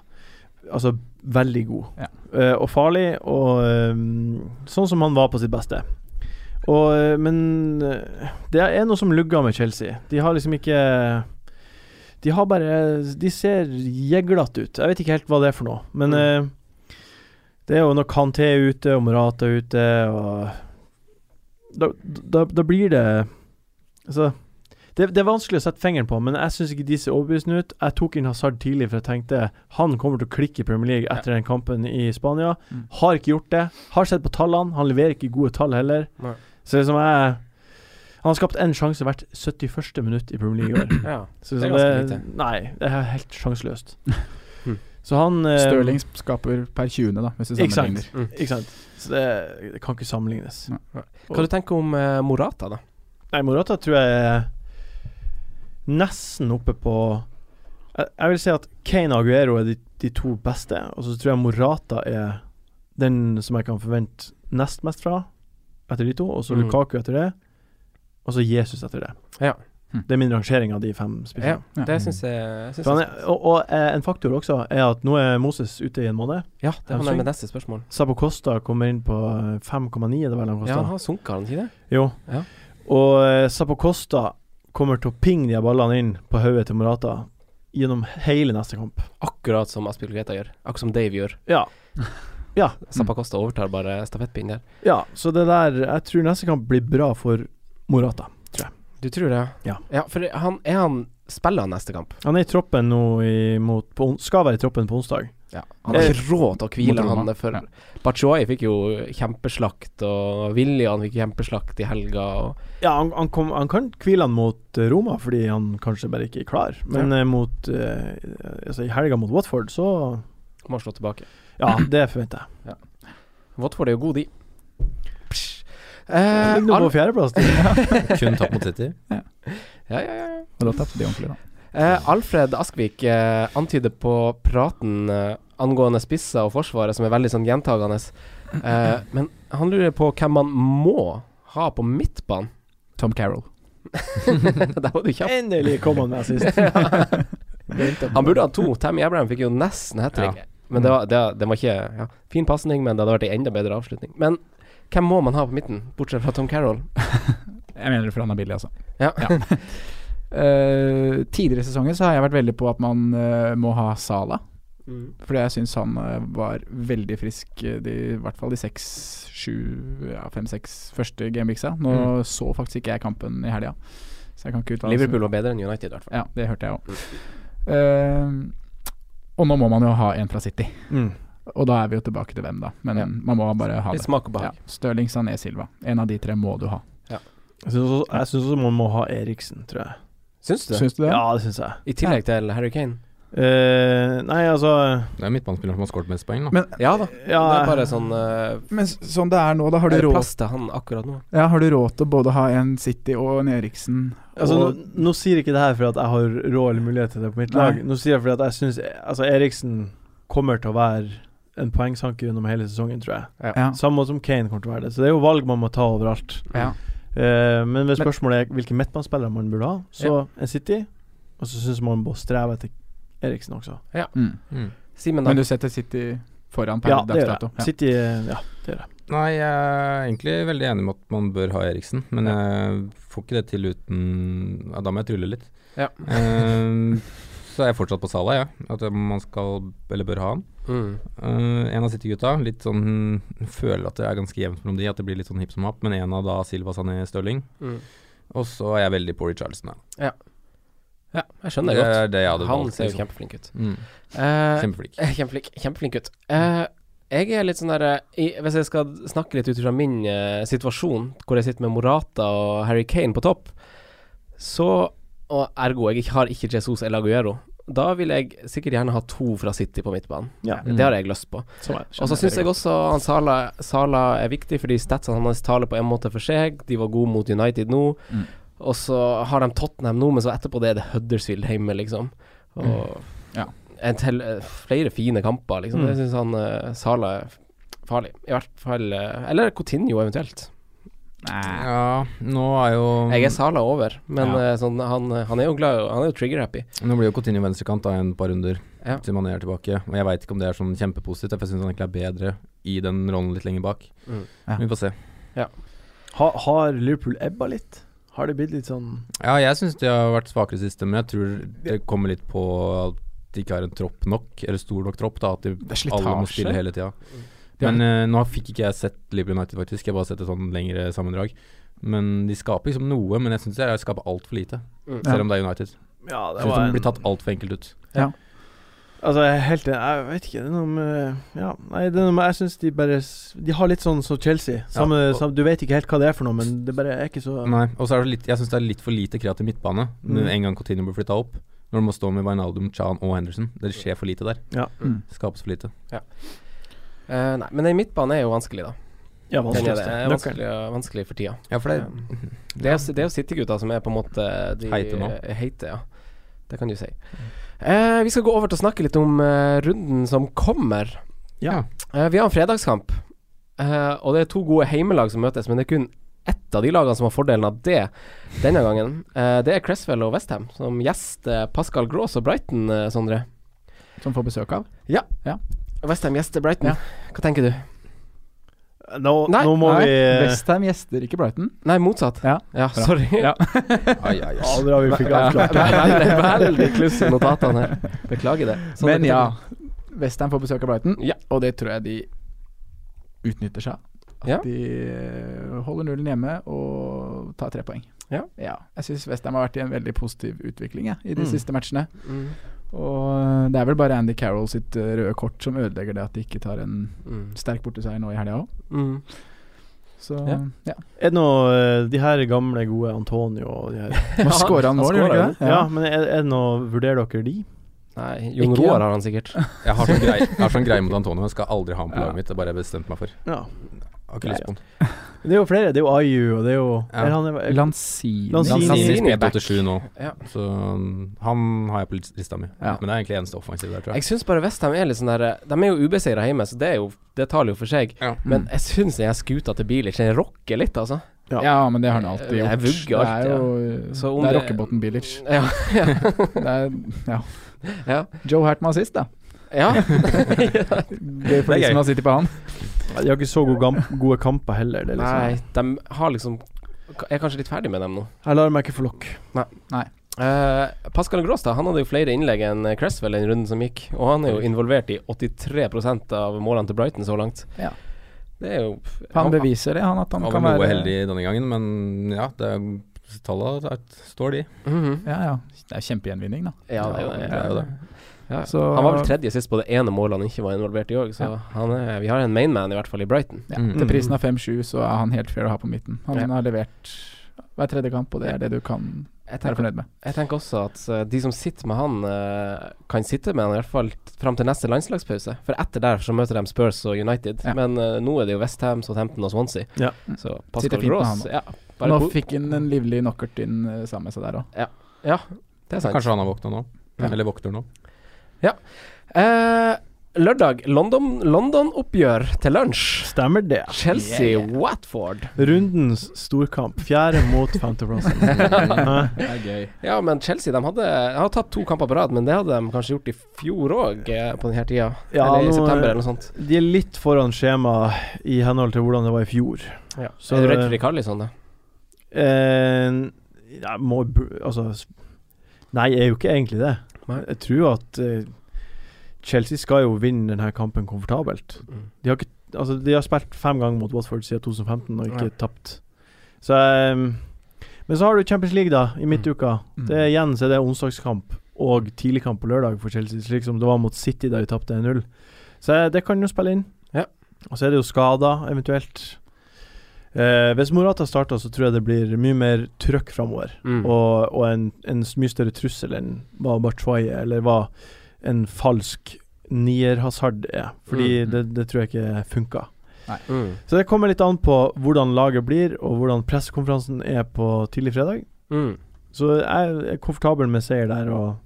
S4: Altså veldig god
S5: Ja.
S4: Eh, og farlig, og eh, sånn som han var på sitt beste. Og, eh, men eh, det er noe som lugger med Chelsea. De har liksom ikke De har bare De ser jeglete ut. Jeg vet ikke helt hva det er for noe, men eh, det er jo når Kanté er ute, og Morata er ute, og Da, da, da blir det Altså det, det er vanskelig å sette fingeren på, men jeg syns ikke de ser overbevisende ut. Jeg tok inn Hazard tidlig, for jeg tenkte han kommer til å klikke i Premier League etter den kampen i Spania.
S5: Mm.
S4: Har ikke gjort det. Har sett på tallene. Han leverer ikke gode tall heller.
S3: Nei.
S4: Så liksom jeg Han har skapt én sjanse hvert 71. minutt i Premier League
S3: *clears throat*
S4: i år.
S3: Ja.
S4: Så
S3: Det er
S4: liksom
S3: ganske
S4: det, nei, det er helt
S3: *laughs*
S4: sjanseløst.
S3: Mm.
S4: Så han eh,
S5: Stirling skaper per 20., da, hvis du
S4: Ikke sant.
S5: sammenligner.
S4: Ikke sant. Så det, det kan ikke sammenlignes.
S5: Nei.
S3: Hva du tenker om eh, Morata, da?
S4: Nei, Morata tror jeg er nesten oppe på Jeg, jeg vil si at Kane og Aguero er de, de to beste, og så tror jeg Morata er den som jeg kan forvente nest mest fra etter de to, og så
S3: Mm.
S4: Lukaku etter det, og så Jesus etter det.
S3: Ja.
S5: Hm.
S4: Det er min rangering av de fem
S3: Ja,
S4: spissene.
S5: Ja.
S3: det syns jeg, synes
S4: For han
S3: jeg
S4: er- Og, og eh, en faktor også er at nå er Moses ute i en måned.
S3: Ja, det var med neste spørsmål.
S4: Sabo Costa kommer inn på eh, 5,9, det var vel han
S3: Ja,
S4: kosta?
S3: han har sunket, har han ikke det?
S4: Jo.
S3: Ja.
S4: Og eh, Zappacosta kommer til å pinge de her ballene inn på hodet til Morata gjennom hele neste kamp.
S3: Akkurat som Aspilogeta gjør. Akkurat som Dave gjør.
S4: Ja.
S3: Zappacosta overtar bare stafettpinnen der.
S4: ja. Så det der Jeg tror neste kamp blir bra for Morata.
S3: Du tror det?
S4: Ja.
S3: ja for han, er han Spiller han neste kamp?
S4: Han er i troppen nå i, mot, på, on- skal være i troppen på onsdag.
S3: Ja. Han har
S4: Eh,
S3: ikke råd til å hvile
S5: mot Roma.
S3: han for
S5: Ja.
S3: Batshuayi fikk jo kjempeslakt, og William fikk kjempeslakt i helga. Og,
S4: Ja, han, han, kom, han kan hvile han mot eh, Roma fordi han kanskje bare ikke er klar, men eh, mot eh, Altså i helga mot Watford, så
S3: må slå tilbake.
S4: Ja, det forventer jeg.
S3: Watford er jo god, de. Psj.
S4: Han
S3: Eh,
S4: Ligger nå på
S3: Ar-
S4: fjerdeplass.
S6: Kun tapt mot City.
S3: ja, ja, ja.
S5: Og da tapte de ordentlig, da.
S3: *laughs* Eh, Alfred Askvik eh, antyder på praten eh, angående spisser og forsvaret, som er veldig sånn gjentagende, eh, men han lurer på hvem man må ha på midtbanen. *laughs*
S5: Tom Carroll.
S3: Der var du kjapp.
S4: Endelig kom han med sist. *laughs*
S3: Han burde ha to. Tammy Abraham fikk jo nesten hat trick. Men det var, det, det var ikke ja, Fin pasning, men det hadde vært en enda bedre avslutning. Men hvem må man ha på midten, bortsett fra Tom Carroll?
S5: Jeg mener det for han er billig, altså.
S3: Ja.
S5: Eh, tidligere i sesongen så har jeg vært veldig på at man eh, må ha Sala. Fordi jeg syns han eh, var veldig frisk, eh, de, i hvert fall de seks, sju, ja, fem-seks første gameweeksa. Nå så faktisk ikke jeg kampen i helga, så jeg kan ikke uttale
S3: Liverpool var bedre enn United, i hvert fall.
S5: Ja, det hørte jeg òg. og nå må man jo ha en fra City.
S4: Mm.
S5: Og da er vi jo tilbake til hvem, da. Men
S3: Ja.
S5: man må bare ha
S3: Litt
S5: det.
S3: smak og
S5: Ja.
S3: behag.
S5: Stirling, Sané, Silva. En av de tre må du ha.
S4: Jeg syns også, jeg synes også man må ha Eriksen, tror jeg.
S3: Syns du det?
S4: Syns du det? Ja, det syns jeg.
S3: I tillegg til Harry Kane?
S4: Eh, nei, altså
S6: Det er midtbanespilleren som har skåret mest poeng, da.
S5: Men-
S3: Ja da.
S4: Ja.
S3: det er bare sånn eh,
S5: Men s- sånn det er nå, da har du
S3: Er det
S5: råd
S3: plass til han akkurat nå?
S5: ja, Har du råd til både å ha en City og en Eriksen?
S4: Altså,
S5: og,
S4: nå, nå sier ikke det her fordi at jeg har råd eller mulighet til det på mitt
S5: Nei.
S4: lag. Nå sier jeg fordi at jeg syns altså, Eriksen kommer til å være en poengsanker gjennom hele sesongen, tror jeg.
S5: Ja.
S4: Samme måte som Kane kommer til å være det. Så det er jo valg man må ta overalt.
S5: Ja.
S4: Eh, men hvis spørsmålet er hvilke midtbanespillere man burde ha, så en City, og så syns man må streve etter Eriksen også.
S5: Mm.
S6: Mm.
S3: Simen, da?
S5: Men du setter City foran per
S4: Ja, det
S5: dags
S4: gjør
S5: dato?
S4: jeg. City Ja, det gjør jeg.
S6: Nei, jeg er egentlig veldig enig med at man bør ha Eriksen, men jeg får ikke det til uten ja, Da må jeg trylle litt.
S3: Ja.
S6: Ehm, så er jeg fortsatt på Salah, jeg. Ja. At man skal, eller bør ha han.
S3: Mm.
S6: Eh, en av City-gutta litt sånn føler at det er ganske jevnt mellom de, at det blir litt sånn hipp som happ, men en av da Silva Sané Stirling.
S3: Mm.
S6: Og så er jeg veldig på Richarlsen, da.
S3: Ja, jeg skjønner
S6: Det
S3: det godt.
S6: er det jeg hadde
S3: han
S6: valgt,
S3: ser jo
S6: liksom.
S3: kjempeflink ut.
S6: Mm.
S3: Eh,
S6: Kjempeflink.
S3: Eh, Kjempeflink, kjempeflink gutt. Eh, jeg er litt sånn der eh, i, Hvis jeg skal snakke litt ut fra min eh, situasjon, hvor jeg sitter med Morata og Harry Kane på topp, så Og ergo, jeg ikke- har ikke Jesus eller Aguero. Da vil jeg sikkert gjerne ha to fra City på midtbanen.
S4: Ja.
S3: Det har jeg lyst på.
S4: Som jeg
S3: Og så syns jeg også han Sala, Sala er viktig, fordi statsene hans taler på en måte for seg. De var gode mot United nå.
S5: Mm.
S3: Og så har de Tottenham nå, men så etterpå det er det Huddersfield hjemme, liksom. Og
S5: Mm. Ja. Mm.
S3: en til, eh, flere fine kamper, liksom. Jeg syns han eh, Sala er f- farlig. I hvert fall eh, Eller Coutinho eventuelt.
S5: Nei.
S6: Ja, nå er jo
S3: Jeg er Sala over, men
S5: Mm. Ja.
S3: eh, sånn, han, han er jo glad Han er jo trigger-happy.
S6: Nå blir jo Coutinho venstrekant da en par runder
S3: Ja.
S6: til Mané er tilbake. Og jeg veit ikke om det er sånn kjempepositivt, for jeg syns han egentlig er bedre i den rollen litt lenger bak.
S3: Mm.
S5: Ja.
S6: Vi får se.
S4: Ha, har Liverpool ebba litt? Har det blitt litt sånn
S6: Ja, jeg syns de har vært svakere siste, men jeg tror det kommer litt på at de ikke har en tropp nok, eller stor nok tropp, da at de
S5: er slitasje.
S6: alle må spille hele tida.
S5: Ja.
S6: Men eh, nå fikk ikke jeg sett Liverpool United, faktisk. Jeg har bare sett et sånn lengre sammendrag. Men de skaper liksom noe, men jeg syns de skaper altfor lite.
S3: Mm.
S6: Selv om det er United.
S4: Ja,
S6: Jeg syns de blir tatt altfor enkelt ut.
S4: Altså, jeg er helt enig. Jeg vet ikke. Det er noe med Ja, nei, det er noe med Jeg syns de bare s- De har litt sånn som Chelsea. Samme,
S6: og-
S4: samme, du vet ikke helt hva det er for noe, men det bare er ikke så
S6: Nei, og så er det litt Jeg syns det er litt for lite kreativ midtbane
S4: Mm.
S6: med en gang Coutinho blir flytta opp. Når du må stå med Wijnaldum, Chan og Henderson. Det skjer for lite der.
S4: Ja.
S5: Mm.
S6: Skapes for lite.
S3: Eh, nei, men ei midtbane er jo vanskelig, da.
S4: Ja,
S3: Den er det.
S4: vanskeligste.
S3: Det er
S4: Nøkkelen.
S3: vanskelig, vanskelig for tida.
S6: Ja, for det Mhm.
S3: Det er, jo- det er jo City-gutta som er på en måte de eh,
S6: Heite nå. Mm.
S3: Heite, ja. Det kan du si. Eh, vi skal gå over til å snakke litt om eh, runden som kommer.
S6: Ja.
S3: Eh, vi har en fredagskamp, eh, og det er to gode heimelag som møtes, men det er kun ett av de lagene som har fordelen av det denne gangen. Eh, det er Cresswell og Westham som gjester Pascal Gross og Brighton, eh, Sondre.
S5: Som får besøk av?
S3: Westham gjester Brighton.
S5: Ja.
S3: Hva tenker du?
S4: Nå,
S3: Nei,
S4: nå må
S5: Nei,
S4: vi eh,
S5: Westham gjester ikke Brighton.
S3: Nei, motsatt.
S5: Ja.
S3: sorry.
S5: Ja.
S6: Ai, ai,
S4: Ja, bra vi fikk
S3: Ja,
S4: avklart det.
S6: *laughs*
S3: veldig, veldig kluss i notatene her. Beklager det. Sånn Sondre, hva
S5: Men
S3: tenker
S5: ja,
S3: du?
S5: Westham får besøk av Brighton,
S3: Ja.
S5: og det tror jeg de utnytter seg. av. At
S3: Ja.
S5: de eh, holder nullen hjemme og tar tre poeng.
S3: Ja.
S5: Jeg syns Westham har vært i en veldig positiv utvikling jeg, i de
S4: Mm.
S5: siste matchene.
S3: Mm.
S5: Og eh, det er vel bare Andy Carroll sitt eh, røde kort som ødelegger det at de ikke tar en
S3: Mm.
S5: sterk borteseier nå i helga òg.
S3: Mm.
S5: Så ja.
S3: Ja. *laughs*
S4: Er det noe eh, De her gamle, gode Antonio og de her
S3: *laughs*
S5: Nå scorer han
S3: han
S5: mål, gjør
S3: scorer,
S5: han ikke det?
S4: Ja, men er, er det noe Vurderer dere de?
S3: Nei, Jon
S5: Ikke,
S3: Roar
S5: ja.
S3: har han sikkert.
S6: Jeg har sånn greie, jeg har sånn greie mot Antonio. Jeg skal aldri ha ham på
S5: Ja.
S6: laget mitt. Det bare har jeg bestemt meg for.
S4: Ja.
S6: Jeg har ikke lyst på han.
S4: Det er jo flere. Det er jo Ayu, og det er jo
S6: Ja.
S4: er han, er,
S5: Lanzini.
S4: Lanzini.
S6: Han
S3: Lanzini er
S6: spilte
S3: back.
S6: 87 nå,
S3: Ja.
S6: så um, han har jeg på lista mi.
S5: Ja.
S6: Men det er egentlig eneste offensiv der, tror
S3: Jeg
S6: jeg.
S3: syns bare Westham er litt sånn der De er jo ubeseira hjemme, så det, er jo, det taler jo for seg.
S6: Ja.
S3: Men jeg syns den her skuta til Bilic Den rocker litt, altså.
S5: Ja. men det har han alltid
S3: Jeg
S5: gjort.
S3: vugger
S5: det er
S3: alltid, ja.
S5: jo
S3: Så om
S5: Det er
S3: det-
S5: rockebotn Bilic.
S3: Ja.
S5: Det er, ja.
S3: Ja.
S5: Joe Hertman sist, da.
S3: ja.
S6: *laughs*
S5: Gøy for
S6: Det er
S5: de som
S6: gøy.
S5: har sittet på han.
S4: De har ikke så gode, gam, gode kamper heller. Det er
S3: Nei,
S4: liksom.
S3: de har liksom Jeg er kanskje litt ferdig med dem nå.
S4: Jeg lar meg ikke få lokk.
S3: Eh, Pascal Gross da, han hadde jo flere innlegg enn Cresswell den runden som gikk, og han er jo involvert i 83 av målene til Brighton så langt.
S5: Ja.
S3: Det er jo
S5: Han beviser det, han at han
S6: Han
S5: kan
S6: var noe
S5: være
S6: heldig denne gangen, men ja, det er, tallene der står de.
S3: Mhm.
S5: Ja, ja. Det er kjempegjenvinning, da.
S3: Ja, det er jo det.
S6: Det er jo det.
S3: Ja.
S5: Så
S3: Han var vel tredje sist på det ene målet han ikke var involvert i òg, så
S5: Ja.
S3: han er, vi har en mainman i hvert fall i Brighton.
S5: ja,
S6: Mm.
S5: til prisen av 5-7 så er han helt fair å ha på midten. Han
S3: Ja.
S5: har levert hver tredje kamp, og det er det du kan jeg er fornøyd med.
S3: Jeg tenker også at eh, de som sitter med han, eh, kan sitte med han i hvert fall t- fram til neste landslagspause. For etter der så møter de Spurs og United. Men eh, nå er det jo Westham, Southampton og Swansea.
S4: Ja.
S5: Mm.
S3: Så
S5: Sitter
S3: Pascal
S5: fint med
S3: Gross
S5: han nå.
S3: ja, bare
S5: Nå
S3: ko-
S5: fikk han en livlig knockert inn eh, sammen med seg der òg.
S3: Ja. ja, det er sant.
S6: Kanskje han har våkna nå?
S5: Ja.
S6: Eller våkner nå?
S3: Ja. Eh, lørdag, London- London-oppgjør til lunsj.
S4: Stemmer det.
S3: Chelsea-Watford.
S4: Rundens storkamp. Fjerde mot femteplass.
S5: Det er gøy.
S3: Ja, men Chelsea de hadde, de har tatt to kamper på rad, men det hadde de kanskje gjort i fjor òg, på denne tida. eller i september, eller noe sånt.
S4: De er litt foran skjema i henhold til hvordan det var i fjor.
S3: Ja.
S4: Så-
S3: er du redd for Rikarlison, da?
S4: Eh, jeg må br- Altså s- Nei, jeg er jo ikke egentlig det.
S3: Nei.
S4: Jeg tror at eh, Chelsea skal jo vinne denne kampen komfortabelt.
S3: Mm.
S4: De har, ikke, altså, de har spilt fem ganger mot Watford siden 2015 og ikke
S3: Ja.
S4: tapt. Så eh, Men så har du Champions League, da, i midtuka.
S5: Mm.
S4: Det er Igjen så er det onsdagskamp og tidligkamp på lørdag for Chelsea, slik som det var mot City da de tapte 1-0. Så eh, det kan jo spille inn.
S3: Ja.
S4: Og så er det jo skader, eventuelt. Eh, hvis Morata starter, så tror jeg det blir mye mer trøkk framover.
S3: Mm.
S4: Og, og en, en s- mye større trussel enn hva Bachoye eller hva en falsk nier-hasard er. Fordi
S5: Mm.
S4: det, det tror jeg ikke funka.
S3: Mm.
S4: Så det kommer litt an på hvordan laget blir, og hvordan pressekonferansen er på tidlig fredag.
S3: Mm.
S4: Så jeg er komfortabel med seier der, og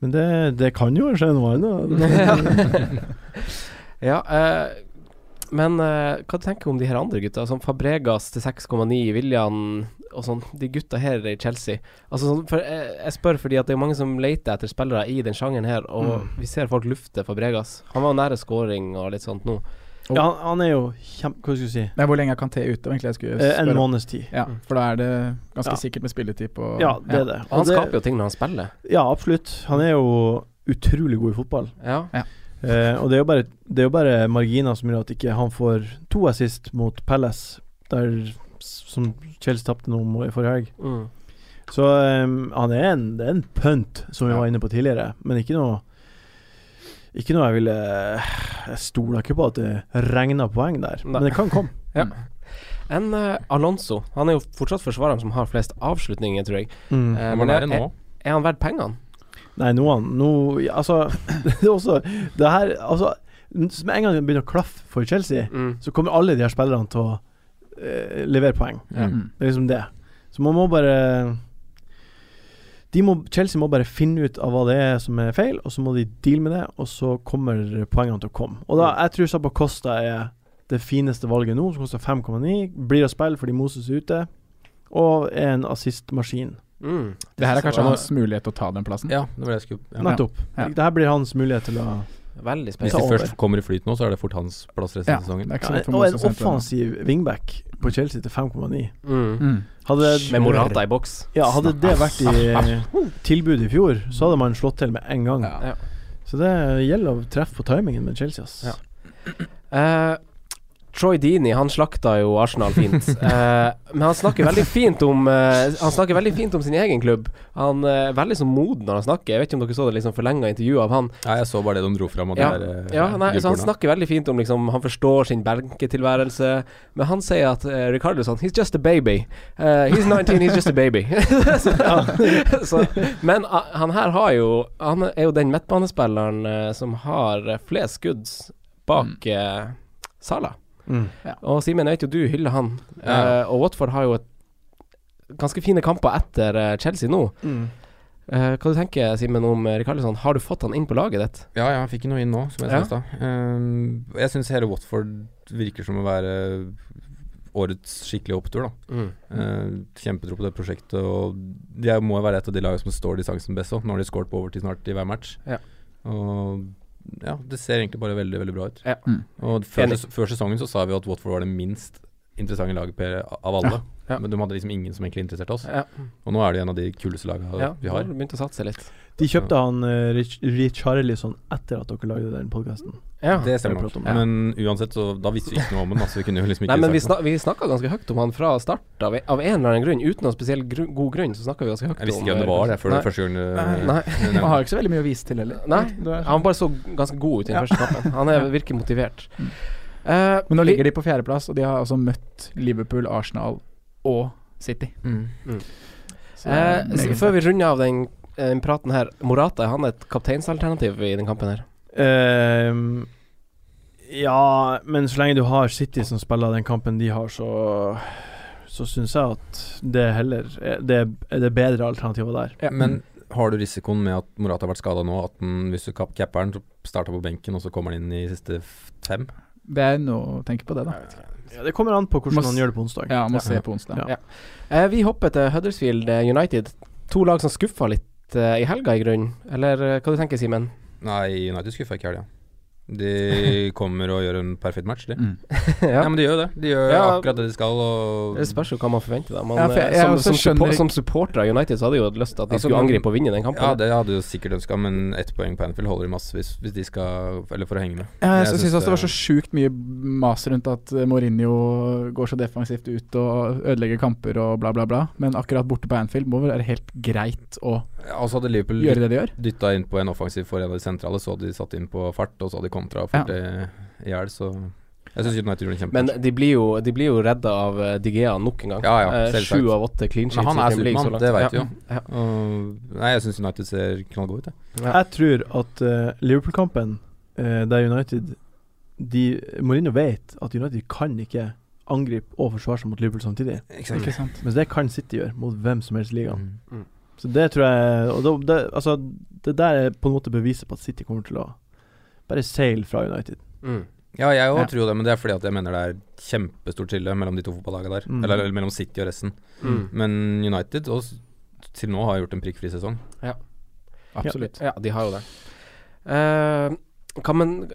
S4: Men det, det kan jo skje noe annet.
S3: Ja, eh, men eh, hva tenker du om de her andre gutta, som Fabregas til 6,9, William og sånn, de gutta her i Chelsea? Altså sånn, for jeg, jeg spør fordi at det er mange som leter etter spillere i den sjangeren her, og
S4: Mm.
S3: vi ser folk lufte Fabregas. Han var jo nære scoring og litt sånt nå.
S4: ja, han, han er jo kjempe... Hva skal jeg si?
S5: Nei, hvor lenge er Kanté ute, egentlig? Jeg skulle
S4: Eh, en
S5: spørre om.
S4: måneds tid.
S5: Ja, for da er det ganske
S4: Ja.
S5: sikkert med spilletid på
S4: Ja, det er det.
S3: Og han
S4: det,
S3: skaper jo ting når han spiller.
S4: Ja, absolutt. Han er jo utrolig god i fotball.
S3: Ja.
S4: Eh, og det er, jo bare, det er jo bare marginer som gjør at ikke han får to assist mot Palace, der, s- som Chelsea tapte nå om- i forrige helg.
S3: Mm.
S4: Så eh, han er en, det er en pønt, som vi var inne på tidligere, men ikke noe ikke noe jeg ville Jeg stoler ikke på at det regner poeng der,
S3: Nei.
S4: men det kan komme.
S3: *laughs* Ja. En eh, Alonso. Han er jo fortsatt forsvareren som har flest avslutninger, tror jeg.
S4: Mm.
S3: Eh,
S6: Han var
S3: men er,
S6: nære
S3: er,
S6: nå.
S3: er han verdt pengene?
S4: Nei, nå han nå, ja, Altså, *laughs* det er også Det her Altså, s- med en gang det begynner å klaffe for Chelsea,
S3: Mm.
S4: så kommer alle de her spillerne til å eh, levere poeng.
S5: Mm.
S4: Det er liksom det. Så man må bare de må, Chelsea må bare finne ut av hva det er som er feil, og så må de deale med det, og så kommer poengene til å komme. Og da, jeg tror Zappa Costa er det fineste valget nå, som koster 5,9. Blir å spille fordi Moses er ute, og er en assistmaskin.
S3: Mm.
S5: Det her er kanskje
S6: Så-
S5: hans mulighet til å ta den plassen.
S6: Ja, det var det jeg skulle ja.
S4: Nettopp.
S5: Ja.
S4: Dette blir hans mulighet til å
S3: Veldig
S6: Hvis
S3: spesielt.
S6: de
S4: over.
S6: først kommer i flyt nå, så er det fort hans plass resten
S5: Ja,
S6: av
S5: det
S6: sesongen.
S5: er ikke så
S4: ja,
S5: lett for
S4: Og en
S5: Moses å hente den.
S4: offensiv wingback på Chelsea til 5,9.
S3: Mm.
S5: Mm.
S4: Hadde,
S3: Med Morata i boks.
S4: ja, hadde det vært
S3: *laughs*
S4: i tilbudet i fjor, så hadde man slått til med en gang.
S3: Ja.
S4: Så det gjelder å treffe på timingen med Chelsea, ass.
S3: Ja. Eh, Troy Deeney, han slakta jo Arsenal fint. Eh, men han snakker veldig fint om eh, Han snakker veldig fint om sin egen klubb. Han eh, er veldig så moden når han snakker. Jeg vet ikke om dere så det liksom forlenga intervjuet av han.
S6: Nei, jeg så bare det de dro fram. og det
S3: Ja,
S6: der, eh,
S3: ja nei, så Han
S6: gullkornet.
S3: snakker veldig fint om liksom Han forstår sin benketilværelse, men han sier at eh, Ricardo sånn He's just a baby. Eh, he's 19, he's just a baby. *laughs* så, så, men ah, han her har jo Han er jo den midtbanespilleren eh, som har eh, flest skudd bak eh, Salah.
S4: Mm.
S3: Og Simen, jeg vet jo du hyller han,
S6: Ja.
S3: Eh, og Watford har jo et ganske fine kamper etter eh, Chelsea nå.
S6: Mm.
S3: Eh, hva du tenker Simen om eh, Rikarlison? Har du fått han inn på laget ditt?
S6: Ja, ja, jeg fikk noe inn nå, som jeg
S3: Ja.
S6: sa i stad. Ehm, jeg syns hele Watford virker som å være årets skikkelige opptur, da.
S3: Mm.
S6: Eh, kjempetro på det prosjektet, og de er- må jo være et av de lagene som står distansen best òg. Nå har de skåret på overtid snart i hver match.
S3: Ja.
S6: Og ja, det ser egentlig bare veldig, veldig bra ut.
S3: Ja.
S5: Mm.
S6: Og før,
S3: Enig.
S6: før sesongen så sa vi jo at Watford var det minst interessante laget per, av alle.
S3: Ja.
S6: Men de hadde liksom ingen som egentlig interesserte oss.
S3: Ja.
S6: Og nå er det en av de kuleste lagene
S3: Ja,
S6: vi
S3: nå har
S6: har.
S3: du begynt å satse litt.
S4: De kjøpte han eh, Rich, Richarlison etter at dere lagde den podkasten.
S3: Ja.
S6: Det stemmer
S4: Det
S6: nok.
S4: prater
S3: om.
S6: Men uansett, så da visste vi ikke noe om den. da, Så vi kunne jo liksom ikke
S3: Nei, men vi,
S6: sagt noe.
S3: snak vi snakka ganske høyt om han fra start, av, av en eller annen grunn. Uten noen spesiell gru god grunn, så snakka vi ganske høyt om
S6: Jeg visste ikke hvem det var jeg, før det
S3: Nei.
S6: første gang
S5: Nei.
S6: det-
S3: Nei.
S6: det
S5: Han har
S6: nevnte.
S5: jo ikke så veldig mye å vise til heller.
S3: Nei,
S5: Det er sånn.
S3: han bare så ganske god ut i
S5: Ja.
S3: den første kampen. Han er, virker motivert. Eh,
S5: Men nå ligger de på fjerdeplass, og de har altså møtt Liverpool, Arsenal og City.
S6: Mm.
S3: Mm.
S5: Så det er
S3: Eh,
S5: meget
S3: så før vi runder av den eh, praten her, Morata, er han et kapteinsalternativ i den kampen her?
S4: Ehm, ja, men så lenge du har City som spiller den kampen de har, så Så syns jeg at det heller er- Det er det bedre alternativet der.
S3: Mm.
S6: Men har du risikoen med at Morata har vært skada nå, at den, hvis du kap- capper den, så starter han på benken, og så kommer han inn i siste f- fem?
S5: Det er noe å tenke på, det, da.
S4: Ja, det kommer an på hvordan
S5: Må s-
S4: han gjør det på onsdag.
S5: Ja, må
S4: Ja.
S5: se på onsdag.
S4: Ja.
S3: Ja. Eh, vi hopper til Huddersfield eh, United. To lag som skuffa litt eh, i helga, i grunnen. Eller eh, hva du
S5: *laughs*
S3: tenker Simen?
S6: Nei, United skuffa ikke i helga. De kommer og gjør en perfekt match, de.
S5: Mm.
S6: ja. men de gjør jo det. De gjør
S3: Ja.
S6: akkurat det de skal. Og
S3: Det spørs jo hva man forventer, da. Man,
S5: Ja, for jeg-
S3: eh,
S5: jeg også
S3: som, som,
S5: skjønner
S3: support,
S5: ikke-
S3: som supporter av United så hadde jeg jo lyst til at de
S6: Altså,
S3: skulle
S6: man-
S3: angripe og vinne den kampen.
S6: Ja, det hadde jo sikkert ønska, men ett poeng på Anfield holder de masse hvis, hvis de skal Eller for å henge med.
S5: Ja, jeg syns
S6: synes
S5: også det var Eh, så sjukt mye mas rundt at eh, Mourinho går så defensivt ut og ødelegger kamper og bla, bla, bla. Men akkurat borte på Anfield må vel være helt greit å
S6: Og så hadde Liverpool
S5: gjøre det de gjør.
S6: dytta inn på en offensiv for en av de sentrale, så hadde de satt inn på fart, og så hadde de kontra og
S5: Ja.
S6: fort det i hjel, så Jeg syns United gjorde en kjempe
S3: Men de blir jo, de blir jo redda av eh, De Gea nok en gang.
S6: Ja, ja,
S3: Eh,
S6: selvsagt.
S3: Sju av åtte clean sheets.
S6: Men han
S3: i
S6: er
S3: Premier League så
S6: Supermann,
S3: langt.
S6: det vet vi
S3: Ja.
S6: jo. Og- nei, jeg syns United ser knallgod ut, jeg.
S3: Ja.
S4: Jeg tror at eh, Liverpool-kampen, eh, der United de, Mourinho vet at United kan ikke angripe og forsvare seg mot Liverpool samtidig.
S6: Ikke
S5: Ikke sant?
S4: Mens det kan City gjøre mot hvem som helst i ligaen.
S6: Mm.
S4: Så det tror jeg Og da- det, altså, det der er på en måte beviset på at City kommer til å bare seile fra United.
S3: Mm.
S6: Ja, jeg òg
S5: Ja.
S6: tror det, men det er fordi at jeg mener det er kjempestort skille mellom de to fotballagene der.
S4: Mm.
S6: Eller, eller mellom City og resten.
S3: Mm.
S6: Men United og, s- til nå har gjort en prikkfri sesong.
S5: Absolutt.
S3: Ja, de har jo det. Eh, kan man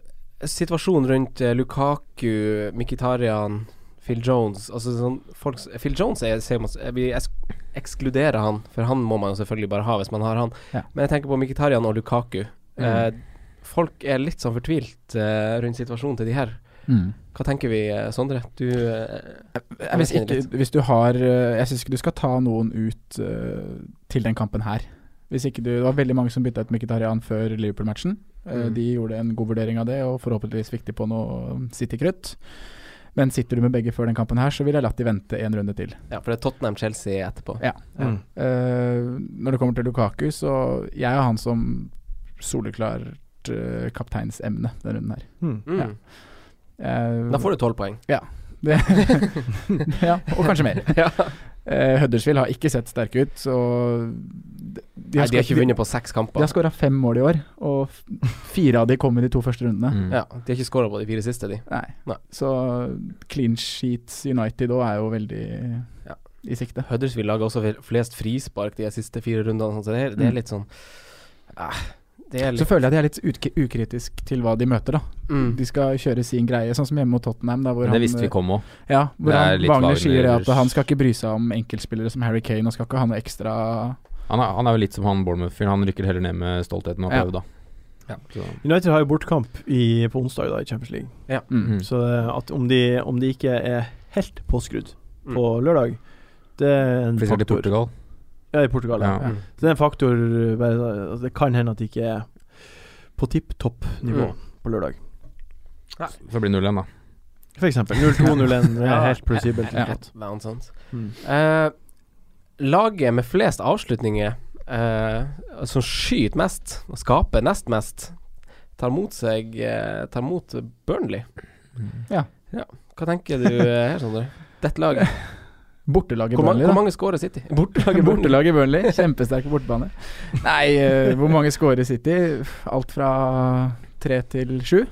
S3: Situasjonen rundt eh, Lukaku, Mkhitaryan, Phil Jones altså sånn, folk, s- Phil Jones er, ser man, s- eh, Vi eks- ekskluderer han, for han må man jo selvfølgelig bare ha hvis man har han.
S5: Ja. Mm.
S3: Men jeg tenker på Mkhitaryan og Lukaku. Eh, folk er litt sånn fortvilt eh, rundt situasjonen til de her. Hva tenker vi, eh, Sondre? Du eh,
S5: Jeg, hvis, ikke, hvis du har eh, Jeg syns ikke du skal ta noen ut eh, til den kampen her. Hvis ikke du, det var veldig mange som bytta ut Mkhitaryan før Liverpool-matchen. Eh,
S3: Mm.
S5: De gjorde en god vurdering av det, og forhåpentligvis fikk de på noe City-krutt. Men sitter du med begge før den kampen her, så ville jeg latt de vente en runde til.
S3: Ja, for det er Tottenham-Chelsea etterpå.
S5: Ja.
S3: Mm.
S5: Eh, når det kommer til Lukaku, så jeg har han som soleklart eh, kapteinsemne denne runden her.
S4: Mm.
S3: Mm.
S5: Ja. Eh,
S3: Da får du tolv poeng.
S5: det, *laughs* ja, og kanskje mer.
S3: *laughs* Ja.
S5: Eh, Huddersfield har ikke sett sterke ut, så de, de
S3: Nei, de har
S5: skåret-
S3: ikke vunnet på seks
S5: De har
S3: kamper.
S5: skåra fem mål i år, og f- fire av de kom i de to første rundene.
S6: Mm.
S3: Ja, de har ikke skåra på de fire siste, de.
S5: Nei.
S3: Nei.
S5: Så clean sheets United òg er jo veldig
S3: Ja.
S5: i sikte.
S3: Huddersfield lager også flest frispark de siste fire rundene, sånn, så det er, det er litt sånn eh, Det er
S5: Så
S3: litt
S5: føler jeg de er litt utk- ukritisk til hva de møter, da.
S3: mm,
S5: De skal kjøre sin greie, sånn som hjemme mot Tottenham. Da, hvor
S6: Det
S5: han, eh,
S6: visste vi kom òg.
S5: Ja, hvor
S6: Det er
S5: han,
S6: litt
S5: Wagner sier det at
S6: Wagners-
S5: han skal ikke bry seg om enkeltspillere som Harry Kane, og skal ikke ha noe ekstra
S6: Han, er- han er jo litt som han Bournemouth-fyren. Han rykker heller ned med stoltheten og
S5: Ja.
S6: prøver, da. Så,
S4: United har jo bortkamp i, på onsdag da, i Champions League.
S5: mm.
S6: Mm.
S4: Så det- at om de, om de ikke er helt påskrudd
S3: Mm.
S4: på lørdag, det er en
S6: for eksempel i
S4: faktor.
S6: Portugal.
S4: Ja, i Portugal, ja.
S6: Ja.
S3: Mm.
S5: Ja.
S4: Så det er en faktor eh, bare- altså, Det kan hende at de ikke er på tipp topp nivå
S3: Mm.
S4: på lørdag.
S6: Så blir det 0-1, da.
S4: For eksempel 0-2-0-1 er helt
S3: *laughs*
S4: plausibelt.
S3: Ja,
S4: Ja.
S3: et eller annet sånt.
S4: Mm.
S3: Eh, laget med flest avslutninger, eh, som skyter mest og skaper nest mest, tar mot seg eh, Tar mot Burnley.
S5: Ja.
S3: Hva tenker du eh, her, Sondre? Dette laget.
S5: Bortelaget
S3: Hvor, ma
S5: Burnley,
S3: hvor
S5: da.
S3: mange skårer City? Bortelaget Burnley.
S5: *laughs* Bortelaget Burnley, kjempesterke bortebane. Nei, eh, hvor mange scorer City? Alt fra tre til sju?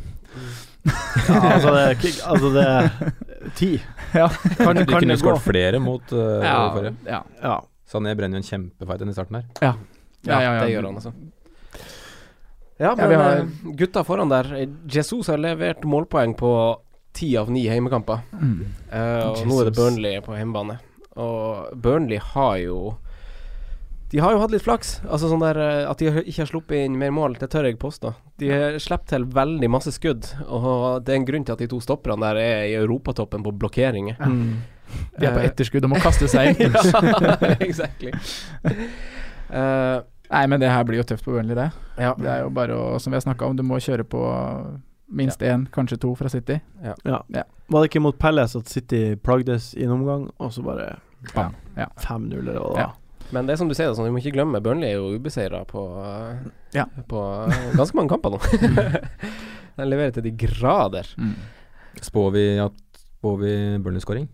S4: Ja, altså, det er, kick- altså, det er ti.
S5: Ja.
S4: Kan,
S6: De
S4: kan
S6: kunne
S4: det gå?
S6: skåret flere mot uh, forrige.
S5: ja.
S4: Ja.
S6: Sané brenner jo en kjempefight inn i starten her.
S3: Ja,
S5: Ja, ja, ja.
S3: det gjør han, altså. Ja, men
S5: vi har-
S3: eh, gutta foran der Jesus har levert målpoeng på ti av ni heimekamper.
S5: Mm.
S3: Eh, og nå er det
S5: Jesus.
S3: Burnley på hjemmebane. Og Burnley har jo De har jo hatt litt flaks. Altså sånn der eh, At de har- ikke har sluppet inn mer mål, det tør jeg påstå. De har sluppet til veldig masse skudd, og det er en grunn til at de to stopperne der er i europatoppen på blokkeringer.
S4: Mm.
S5: De er på
S3: Eh,
S5: etterskudd og må kaste seg inn.
S3: ja, exactly. *laughs* Eh,
S5: Nei, men det her blir jo tøft på Burnley, det.
S3: ja.
S5: Det er jo bare å, som vi har snakka om, du må kjøre på minst én, kanskje to fra City.
S4: Var det ikke mot Palace at City plagdes i en omgang, og så bare
S5: Bam. Ja.
S4: 5-0 eller hva det
S5: Ja.
S4: var?
S3: Men det er som du sier, da, sånn, vi må ikke glemme Burnley er jo ubeseira på, eh, på eh, ganske mange kamper nå. *laughs* De leverer til de grader.
S5: Mm.
S6: Spår vi, at, spår vi Burnley-skåring?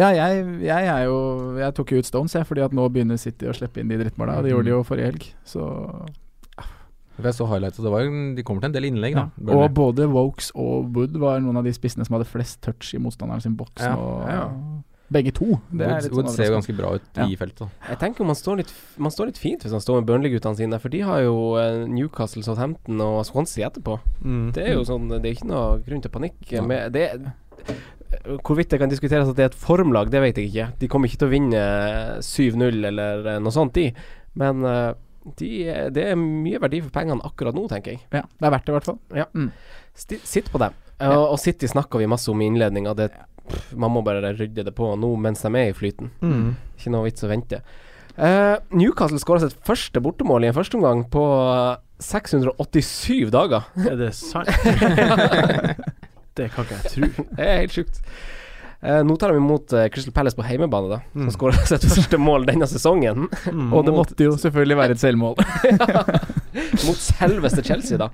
S5: Ja, jeg, jeg er jo Jeg tok jo ut Stones, jeg, fordi at nå begynner City å slippe inn de drittmåla. Det gjorde de jo forrige helg, så
S6: For Jeg så highlights, og det var jo, de kommer til en del innlegg, da.
S5: Og
S6: Burnley.
S5: både Wokes og Wood var noen av de spissene som hadde flest touch i motstanderen sin boks.
S6: Ja,
S5: Og
S6: ja, ja.
S5: Begge to. Det er
S6: Wood,
S5: litt sånn
S6: Wood ser jo ganske
S5: overraskende.
S6: bra ut
S5: Ja.
S6: i feltet. da.
S3: Jeg tenker man står, litt, man står litt fint hvis man står med Burnley-guttene sine, for de har jo eh, Newcastle, Southampton og Swansea etterpå.
S4: Mm.
S3: Det er jo sånn Det er ikke noe grunn til panikk. Men det, hvorvidt det kan diskuteres at det er et formlag, det vet jeg ikke. De kommer ikke til å vinne 7-0 eller eh, noe sånt, de. Men eh, de, det er mye verdi for pengene akkurat nå, tenker jeg.
S5: Ja, det er verdt det, i hvert fall.
S3: Ja. Sti, sitt på dem. Og, og City snakka vi masse om i innledninga. Man må bare rydde det på nå mens de er i flyten.
S4: Mm.
S3: Ikke noe vits å vente. Eh, Newcastle skåra sitt første bortemål i en førsteomgang på 687 dager.
S4: Er det
S3: *laughs*
S4: sant? det kan ikke jeg tro.
S3: Det er helt sjukt. Eh, nå tar de imot eh, Crystal Palace på heimebane, da. Som skåra sitt første mål denne sesongen. *laughs*
S4: Mm.
S5: Og det måtte jo selvfølgelig være et selvmål.
S3: mot selveste Chelsea, da.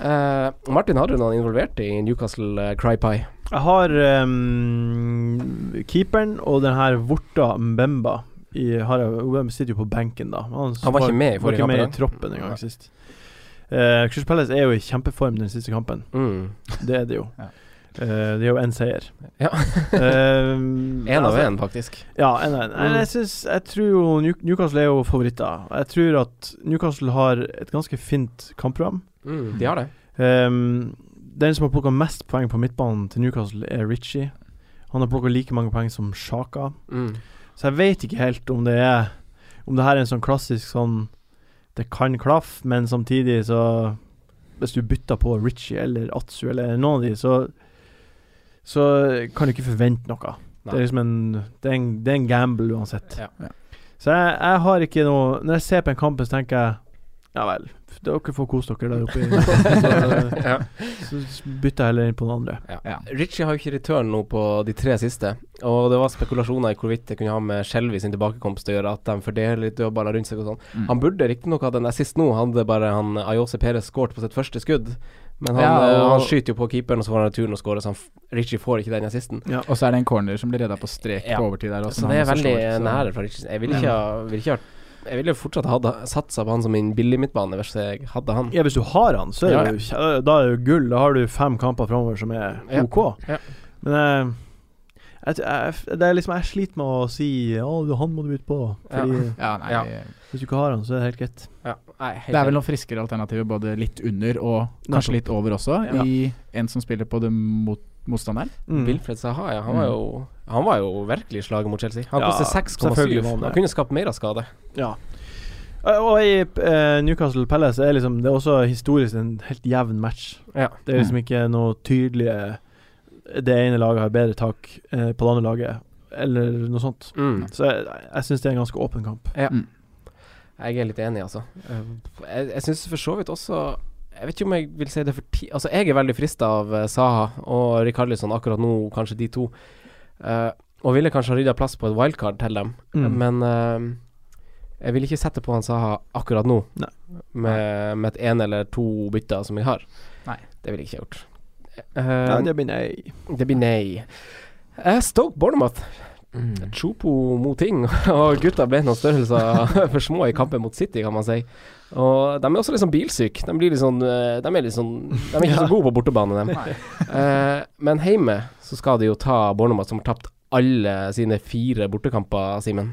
S3: Eh, Martin, har du noen involvert i Newcastle eh, Cry Pie?
S4: Jeg har ehm, keeperen og den her Vorta Mbemba. I, har jeg, Mbemba sitter jo på benken, da.
S3: Han var ikke med i
S4: var
S3: forrige
S4: ikke med
S3: kamp,
S4: i
S3: da.
S4: troppen en gang sist. Uh, Crystal Palace er jo i kjempeform den siste kampen.
S3: Mm.
S4: Det er det jo.
S5: Ja.
S4: Eh, det er jo én seier.
S3: Ja.
S4: Ehm,
S3: *laughs* En av
S4: altså-
S3: en, faktisk.
S4: Ja, en av en. Nei,
S3: Mm.
S4: Jeg, synes, jeg tror jo New- Newcastle er jo favoritter. Jeg tror at Newcastle har et ganske fint kampprogram.
S3: Mm, de har det.
S4: Ehm, den som har plukka mest poeng på midtbanen til Newcastle, er Ritchie. Han har plukka like mange poeng som Sjaka.
S3: Mm.
S4: Så jeg vet ikke helt om det er Om det her er en sånn klassisk sånn Det kan klaffe, men samtidig så Hvis du bytter på Ritchie eller Atsu eller noen av de, så Så kan du ikke forvente noe. Det er
S3: Nei.
S4: liksom en Det er en, det er en gamble uansett.
S3: Ja.
S5: Ja.
S4: Så jeg, jeg har ikke noe Når jeg ser på en kamp, så tenker jeg ja vel, dere får kose dere der
S3: *laughs*
S4: oppe. i-
S3: Ja.
S4: Så, så bytter jeg heller inn på den andre.
S5: Ja.
S3: Ritchie har jo ikke return nå på de tre siste, og det var spekulasjoner i hvorvidt det kunne ha med Skjelvi sin tilbakekomst å gjøre, at de fordeler litt dødballer rundt seg og sånn.
S5: Mm.
S3: Han burde riktignok hatt en assist nå, hadde bare han Ayose Perez skåret på sitt første skudd, men han,
S5: Ja,
S3: eh,
S5: og-
S3: han skyter jo på keeperen, og så får han returen og skårer, så han, f- Ritchie får ikke den assisten.
S5: *laughs* Og så er det en corner som blir redda på strek
S3: Ja.
S5: på overtid der også.
S3: Så det er
S5: han også
S3: veldig
S5: slår, så-
S3: nære fra Ritchie. Jeg ville ikke ha vil ikke ha- jeg ville jo fortsatt ha da- satsa på han som min billig midtbane, hvis jeg hadde han.
S4: Ja, hvis du har han, så er
S3: Ja,
S4: det jo kje- da er det jo gull. Da har du fem kamper framover som er
S3: Ja.
S4: OK.
S3: Ja.
S4: Men eh, jeg, t- jeg, det er liksom, jeg sliter med å si Å, du, han må du ut på. Fordi
S5: Ja, nei,
S3: Ja.
S4: hvis du ikke har han, så er det helt greit.
S3: Ja, nei, helt
S5: Det er vel
S3: enig.
S5: noen friskere alternativer både litt under og
S4: Nettopp.
S5: kanskje litt over også,
S4: Ja.
S5: i en som spiller på det mot motstanderen.
S4: Mm.
S3: Wilfred Saha, ja. Han var jo, han var jo virkelig i slaget mot Chelsea. Han
S4: Ja,
S3: kostet
S4: selvfølgelig
S3: 6,7.
S4: var han det.
S3: Han kunne skapt mer av skade.
S4: Ja. Eh, Og i eh, Newcastle Palace er liksom, det er også historisk en helt jevn match.
S3: Ja.
S4: Det er liksom
S3: Mm.
S4: ikke noe tydelige Det ene laget har bedre tak eh, på det andre laget, eller noe sånt.
S3: Mm.
S4: Så jeg, jeg syns det er en ganske åpen kamp.
S3: Jeg er litt enig, altså. Eh, Jeg, jeg syns for så vidt også Jeg vet ikke om jeg vil si det for ti... Altså, jeg er veldig frista av eh, Saha og Rikarlisson akkurat nå, kanskje de to. Eh, og ville kanskje ha rydda plass på et wildcard til dem,
S4: Mm.
S3: men eh, jeg vil ikke sette på han Saha akkurat nå
S4: Nei.
S3: med, med et ene eller to bytter som jeg har.
S5: Nei.
S3: Det ville jeg ikke ha gjort.
S4: Ja,
S3: Eh,
S4: det blir nei.
S3: Det blir nei. Eh, Stoke Bournemouth. Chopo mot ting, *laughs* og gutta ble noen størrelser for små i kampen mot City, kan man si. Og de er også litt sånn bilsyke. De, blir litt sånn, eh, de er litt sånn De er ikke så gode på bortebane, dem. Eh, men hjemme så skal de jo ta Bournemouth, som har tapt alle sine fire bortekamper, Simen.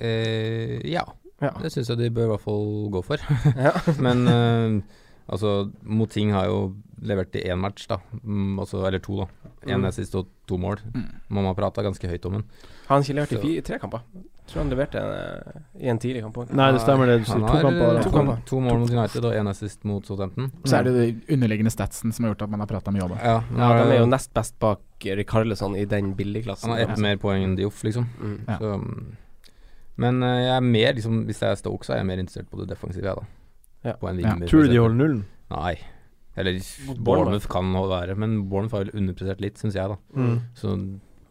S6: Eh, ja.
S3: Ja.
S6: det syns jeg de bør i hvert fall gå for.
S3: *laughs* Ja.
S6: *laughs* Men eh, altså, Moting har jo levert i én match, da. Mm, altså, eller to, da. Én
S3: Mm.
S6: mm. sist og to mål. Man har prata ganske høyt om den.
S3: Har han ikke levert i
S6: Så-
S3: fire, tre kamper? Tror han leverte eh, i en tidlig kamp også.
S4: Nei, det stemmer det. Du sier
S6: Han
S4: to
S6: har
S4: kamper.
S6: eh,
S4: da.
S6: to, kamper. to mål mot United og én assist mot Southampton.
S5: Så er det jo de underliggende statsen som har gjort at man har prata mye om det.
S6: Ja,
S3: Ja, de er jo
S6: han
S3: nest best bak Rikarlesson i den billigklassen.
S6: har ett mer poeng enn Dioff, liksom.
S3: Mm.
S5: Ja.
S6: Så, mm. men eh, jeg er mer, liksom, hvis jeg er Stoke, så er jeg mer interessert på det defensive, jeg, da.
S3: Ja.
S6: På en
S5: Ja.
S6: Wiggenby, for
S4: Tror du
S6: eksempel.
S4: de holder nullen?
S6: Nei. Eller
S3: Bournemouth.
S6: Bournemouth kan nå være, men Bournemouth har vel underprestert litt, syns jeg, da. Så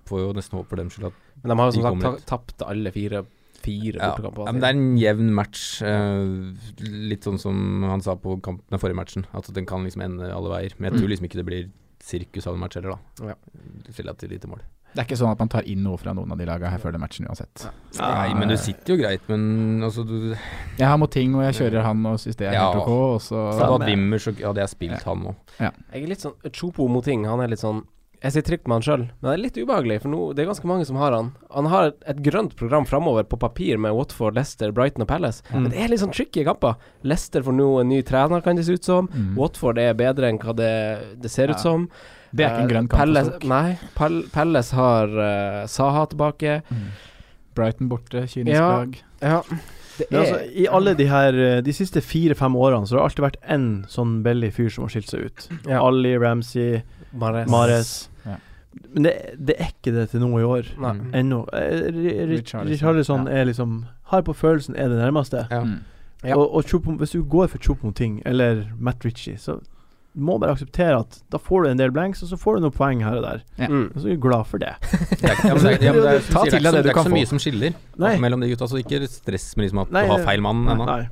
S6: får jo nesten håpe for dem skyld at
S3: Mm. Men de har jo
S6: De
S3: som sagt
S6: kommer
S3: ta- tapt alle fire fire
S6: Ja.
S3: bortekamper.
S6: ja, men det er en jevn match. eh, litt sånn som han sa på kampen, den forrige matchen, at den kan liksom ende alle veier. Men jeg tror
S5: Mm.
S6: liksom ikke det blir sirkus av en match heller, da.
S3: Ja.
S6: Relativt lite mål.
S5: Det er ikke sånn at man tar inn noe fra noen av de laga her før den matchen uansett.
S6: Nei, men du sitter jo greit, men altså du
S5: Jeg har Moting, og jeg kjører han og syns det er helt ok. Og så
S6: Hadde du hatt sånn Wimmer, så hadde jeg spilt han òg.
S3: Jeg er litt sånn Chopo mot ting. Han er litt sånn Jeg sier trygt med han sjøl, men det er litt ubehagelig, for nå det er ganske mange som har han. Han har et, et grønt program framover på papir med Watford, Leicester, Brighton og Palace, men det er litt sånn tricky kamper. Leicester får nå en ny trener, kan det se ut som.
S5: Mm.
S3: Watford er bedre enn hva det, det ser
S5: Ja.
S3: ut som.
S5: Det er ikke en
S3: Eh,
S5: grønn kamp for
S3: Palace,
S5: Stoke.
S3: Nei. Pal Palace har eh, Saha tilbake.
S5: Brighton borte, kynisk
S3: Ja,
S5: lag.
S3: ja. Det
S4: Men
S3: er
S4: altså, I alle de her eh, De siste fire-fem årene Så har det alltid vært én sånn belly fyr som har skilt seg ut.
S3: Ja.
S4: Ali, Ramsey,
S3: Mahrez.
S4: Mares.
S5: Ja.
S4: Men det, det er ikke det til noe i år.
S3: Nei.
S4: Ennå. Eh, Ri- Ri-
S5: Richarlison.
S4: Richarlison er liksom Har på følelsen er det nærmeste.
S6: Ja.
S5: Mm.
S3: Ja.
S4: Og, og Choupo- hvis du går for Choupo-ting eller Matt Ritchie, så må du bare akseptere at da får du en del blanks, og så får du noen poeng her og der.
S3: Mm.
S4: Og så er du glad for det.
S6: Det er ikke- *laughs* ja, men det er- ja, men det er-
S3: Ta
S6: sier, det er
S3: til deg
S6: ikke så-
S3: det du
S6: det er
S3: kan
S6: ikke så
S3: få.
S6: mye som skiller
S4: Nei.
S6: mellom de gutta, så ikke stress med liksom at
S4: Nei,
S6: du har feil mann
S4: nei,
S6: ennå.
S4: Nei.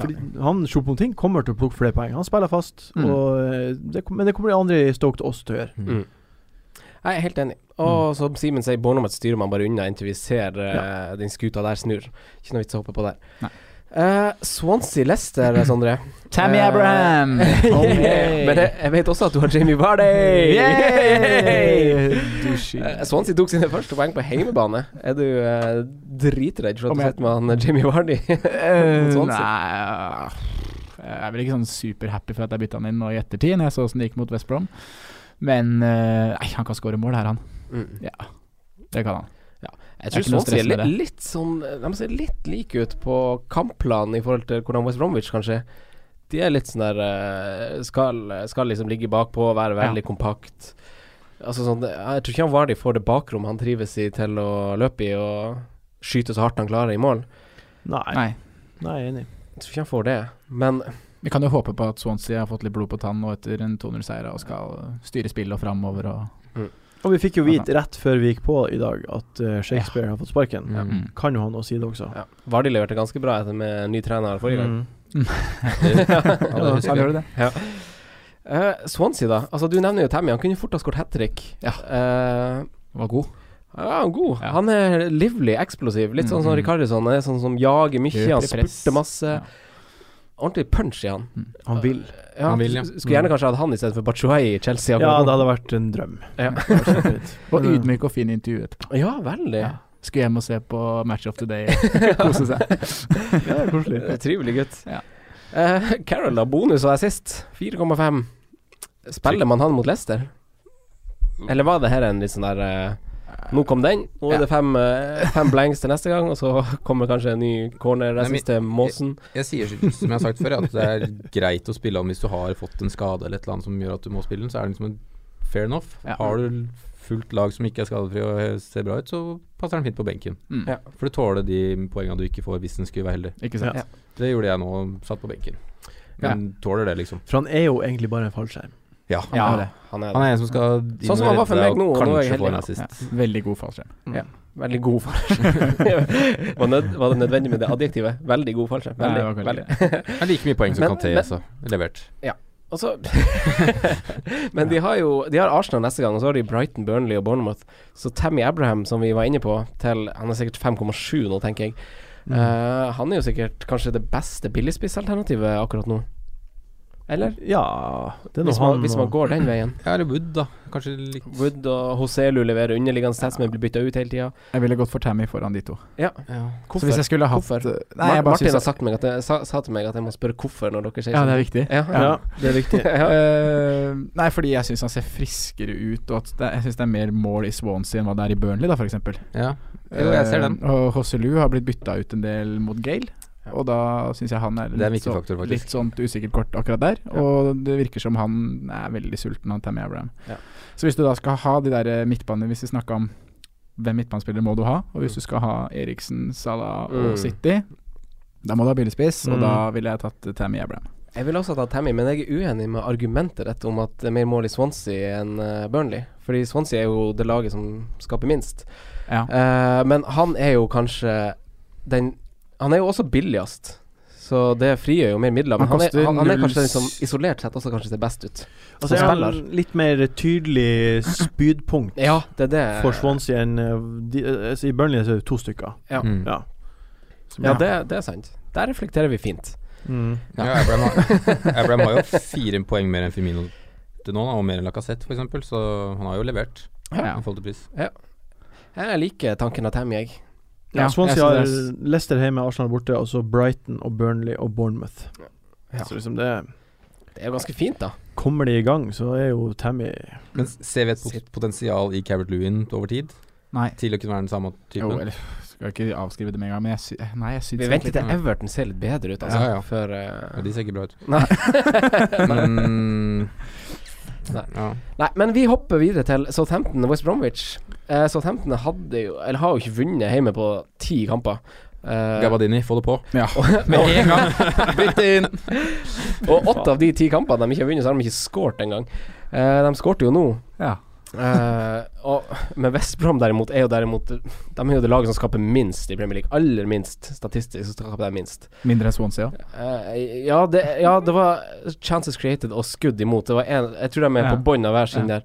S4: Fordi han Choupo-ting kommer til å plukke flere poeng. Han spiller fast,
S5: Mm.
S4: og eh, det, kom- men det kommer de andre i Stoke til også til å gjøre.
S3: Mm. Jeg er helt enig. Og som Simen sier, Bournemouth styrer man bare unna inntil vi ser eh, den skuta der snur. Ikke noe vits å hoppe på der. Eh, Swansea
S5: *clears throat*
S3: Leicester, Sondre.
S5: Tammy
S3: Eh, *laughs*
S5: Abraham!
S3: yeah.
S5: Oh,
S3: Men jeg, jeg vet også at du har Jamie Vardy!
S5: Yay! Douche.
S3: Eh, Swansea tok sine første poeng på heimebane. Er du eh, dritredd for at
S5: Om
S3: du
S5: jeg-
S3: sitter med han eh, Jamie Vardy *laughs* mot
S5: Eh,
S3: Swansea?
S5: Nei Jeg er vel ikke sånn superhappy for at jeg bytta han inn nå i ettertid, når jeg så åssen det gikk mot West Brom. Men eh, nei, han kan skåre mål her, han.
S3: Mm.
S5: Ja, det kan han.
S3: Jeg
S5: Det er
S3: tror
S5: ikke noe
S3: Swansea
S5: stress
S3: er
S5: med
S3: litt, litt sånn De ser litt like ut på kampplanen i forhold til hvordan West Bromwich kanskje De er litt sånn der eh, skal, skal liksom ligge bakpå, være veldig kompakt. Altså sånn det- Jeg tror ikke han Vardy får det bakrommet han trives i til å løpe i og skyte så hardt han klarer i mål.
S4: Nei.
S5: Nei.
S4: Nei, jeg er enig.
S3: Jeg tror ikke han får det. Men
S5: Vi kan jo håpe på at Swansea har fått litt blod på tann nå etter en 2-0-seier og skal styre spillet og framover og
S4: Og vi fikk jo vite rett før vi gikk på i dag at eh, Shakespeare har fått sparken.
S6: Ja.
S5: Mm.
S4: Kan jo ha noe å si det også.
S3: ja, Vardy leverte ganske bra etter med ny trener forrige *laughs* gang.
S4: Mm.
S5: Ja, da
S6: husker jeg.
S5: gjør du det.
S3: Eh, Swansea, da. Altså Du nevner jo Tammy. Han kunne fort ha skåret Eh, hat trick.
S5: Ja. Var god.
S3: Ja, han er god.
S5: Ja.
S3: Han er livlig, eksplosiv. Litt sånn som
S5: Mhm.
S3: Rikardisson. Han er sånn som jager mye,
S5: Løper i
S3: han
S5: press.
S3: spurter masse.
S5: Ja.
S3: Ordentlig punch i han.
S4: Han vil.
S3: Ja,
S6: Han vil, ja.
S3: s- Skulle gjerne kanskje hatt han istedenfor Bachuay i Chelsea.
S4: Ja,
S3: akkurat
S4: det
S3: nå.
S4: hadde vært en drøm.
S5: *laughs* Og ydmyk og fin intervju etterpå.
S3: ja veldig.
S5: Ja. Skulle hjem og se på Match of the
S3: *laughs*
S5: Day og kose seg.
S4: Ja, koselig.
S3: Eh, *laughs* Trivelig gutt.
S5: Ja.
S3: Eh, Carroll da, bonus og assist. 4,5. Spiller man han mot Leicester? Eller var det her en litt sånn der eh, Nå kom den, nå er det fem, eh, fem blanks til neste gang, og så kommer kanskje en ny corner
S6: Nei, men-
S3: assist til Måsen.
S6: Jeg sier som jeg har sagt før, at det er *laughs* greit å spille han hvis du har fått en skade eller et eller annet som gjør at du må spille den, så er det liksom en fair enough.
S5: Ja.
S6: Har du fullt lag som ikke er skadefri og ser bra ut, så passer han fint på benken.
S5: Mm.
S3: Ja.
S6: For du tåler de poengene du ikke får hvis den skulle være heldig.
S5: Ikke sant?
S4: Ja.
S6: Det gjorde jeg nå, satt på benken. Men tåler det, liksom.
S4: For han er jo egentlig bare en fallskjerm.
S6: Ja.
S5: Ja, det.
S3: Han er
S6: Han er en som skal inn
S3: Sånn som
S6: og
S3: han var for
S6: redde deg,
S3: meg
S6: og
S3: nå, og nå er jeg
S6: kanskje få
S3: heldig.
S6: en assist.
S5: Ja. Veldig god fallskjerm.
S3: Veldig god fallskjerm. *laughs* var, nød, var det nødvendig med det adjektivet? Veldig god fallskjerm.
S5: Nei,
S3: Veldig.
S5: det var kanskje
S3: veldig.
S6: Det er like mye poeng som
S3: Men-
S6: kan te,
S3: men-
S6: altså. Levert.
S3: Og så- *laughs* men de har jo De har Arsenal neste gang, og så har de Brighton, Burnley og Bournemouth. Så Tammy Abraham, som vi var inne på, til Han er sikkert 5,7 nå, tenker jeg.
S6: Mm.
S3: Eh, han er jo sikkert kanskje det beste billigspissalternativet akkurat nå. Eller?
S4: Ja, det er nå
S3: Hvis man,
S4: han
S3: hvis man
S4: og-
S3: går den veien.
S6: *clears throat* Ja, eller Wood, da. Kanskje litt
S3: Wood og Hoselu leverer underliggende stats, men blir bytta ut hele tida.
S5: Jeg ville gått for Tammy foran de to.
S3: Ja.
S6: ja.
S5: Så hvis jeg skulle hatt
S3: Hvorfor?
S5: Nei, jeg
S3: Mar-
S5: bare
S3: Martin
S5: synes-
S3: har sagt meg at jeg, sa, sa til meg at jeg må spørre hvorfor når dere sier
S5: Ja, det er
S3: sånn.
S5: viktig.
S3: *laughs* Ja,
S4: Ja, det er riktig.
S3: ja.
S5: Eh, nei, fordi jeg syns han ser friskere ut, og at det, jeg syns det er mer mål i Swansea enn hva det er i Burnley, da, f.eks.
S6: Ja. Jo, jeg ser den.
S5: og Hosselu har blitt bytta ut en del mot Gale, og da syns jeg han er,
S6: Det er en
S5: litt,
S6: viktig faktor, faktisk.
S5: litt sånt usikkert kort akkurat der. Og det virker som han er veldig sulten, han Tammy Abraham.
S3: Ja.
S5: Så hvis du da skal ha de der eh, midtbanene, hvis vi snakker om hvem midtbanespiller må du ha, og hvis du skal ha Eriksen, Salah og
S3: Mm.
S5: City, da må du ha billigspiss, og
S4: Mm.
S5: da ville jeg tatt eh, Tammy Abraham.
S3: Jeg ville også tatt Tammy, men jeg er uenig med argumentet ditt om at det er mer mål i Swansea enn eh, Burnley. Fordi Swansea er jo det laget som skaper minst.
S5: Ja.
S3: Eh, men han er jo kanskje den Han er jo også billigst, så det frigjør jo mer midler. Men
S4: Han
S3: han,
S4: koster
S3: er, han, han er
S4: null
S3: kanskje den
S4: s-
S3: som isolert sett også kanskje ser best ut.
S4: Altså, jeg har en litt mer tydelig spydpunkt
S3: Ja, det er det.
S4: for Swansea enn eh, de, eh, altså, I Burnley så er det to stykker.
S3: Ja.
S6: Mm.
S4: Ja. Som-
S3: Ja, det, det er sant. Der reflekterer vi fint.
S4: Mm.
S6: Ja, Abraham, har- Abraham har jo fire poeng mer enn Firmino til nå, da, og mer enn Lacassette f.eks., så han har jo levert
S3: Ja.
S6: i forhold til pris.
S3: Ja. Jeg liker tanken av Tammy, jeg.
S4: Ja,
S5: Ja,
S4: Swansea
S5: jeg
S4: har
S5: synes det
S4: Leicester hjemme, Arsenal borte, og så Brighton og Burnley og Bournemouth.
S3: Ja.
S4: Så liksom det
S3: Det er jo ganske fint, da.
S4: Kommer de i gang, så er jo Tammy
S6: Men ser vi et pot- potensial i Carrot Lewin over tid?
S5: Nei.
S6: Til å kunne være den samme typen?
S5: Jo, eller skal ikke avskrive det med en gang, men jeg, sy nei, jeg syns
S3: Vi venter til Everton ser litt bedre ut, altså.
S6: Ja, ja.
S3: Før
S6: Ja,
S3: eh,
S6: de ser ikke bra ut.
S3: Nei.
S6: *laughs* Men
S3: Nei.
S6: ja.
S3: Nei, men vi hopper videre til Southampton og West Bromwich. Eh, Southampton hadde jo, eller har jo ikke vunnet hjemme på ti kamper. Eh,
S6: Gabadini, få det
S3: *laughs*
S6: på.
S5: Ja.
S6: Med en gang! Bytt inn!
S3: og åtte av de ti kampene de ikke har vunnet, så har de ikke skåret engang. Eh, de skårte jo nå.
S5: *laughs* Ja.
S3: Eh, og, men West Brom derimot er jo derimot De er jo det laget som skaper minst i Premier League. Aller minst statistisk. Så skaper de minst
S5: Mindre enn Swansea, ja.
S3: Eh, ja, det, ja, det var chances created og skudd imot. Det var en, jeg tror de er
S5: Ja.
S3: på bånn av hver sin der.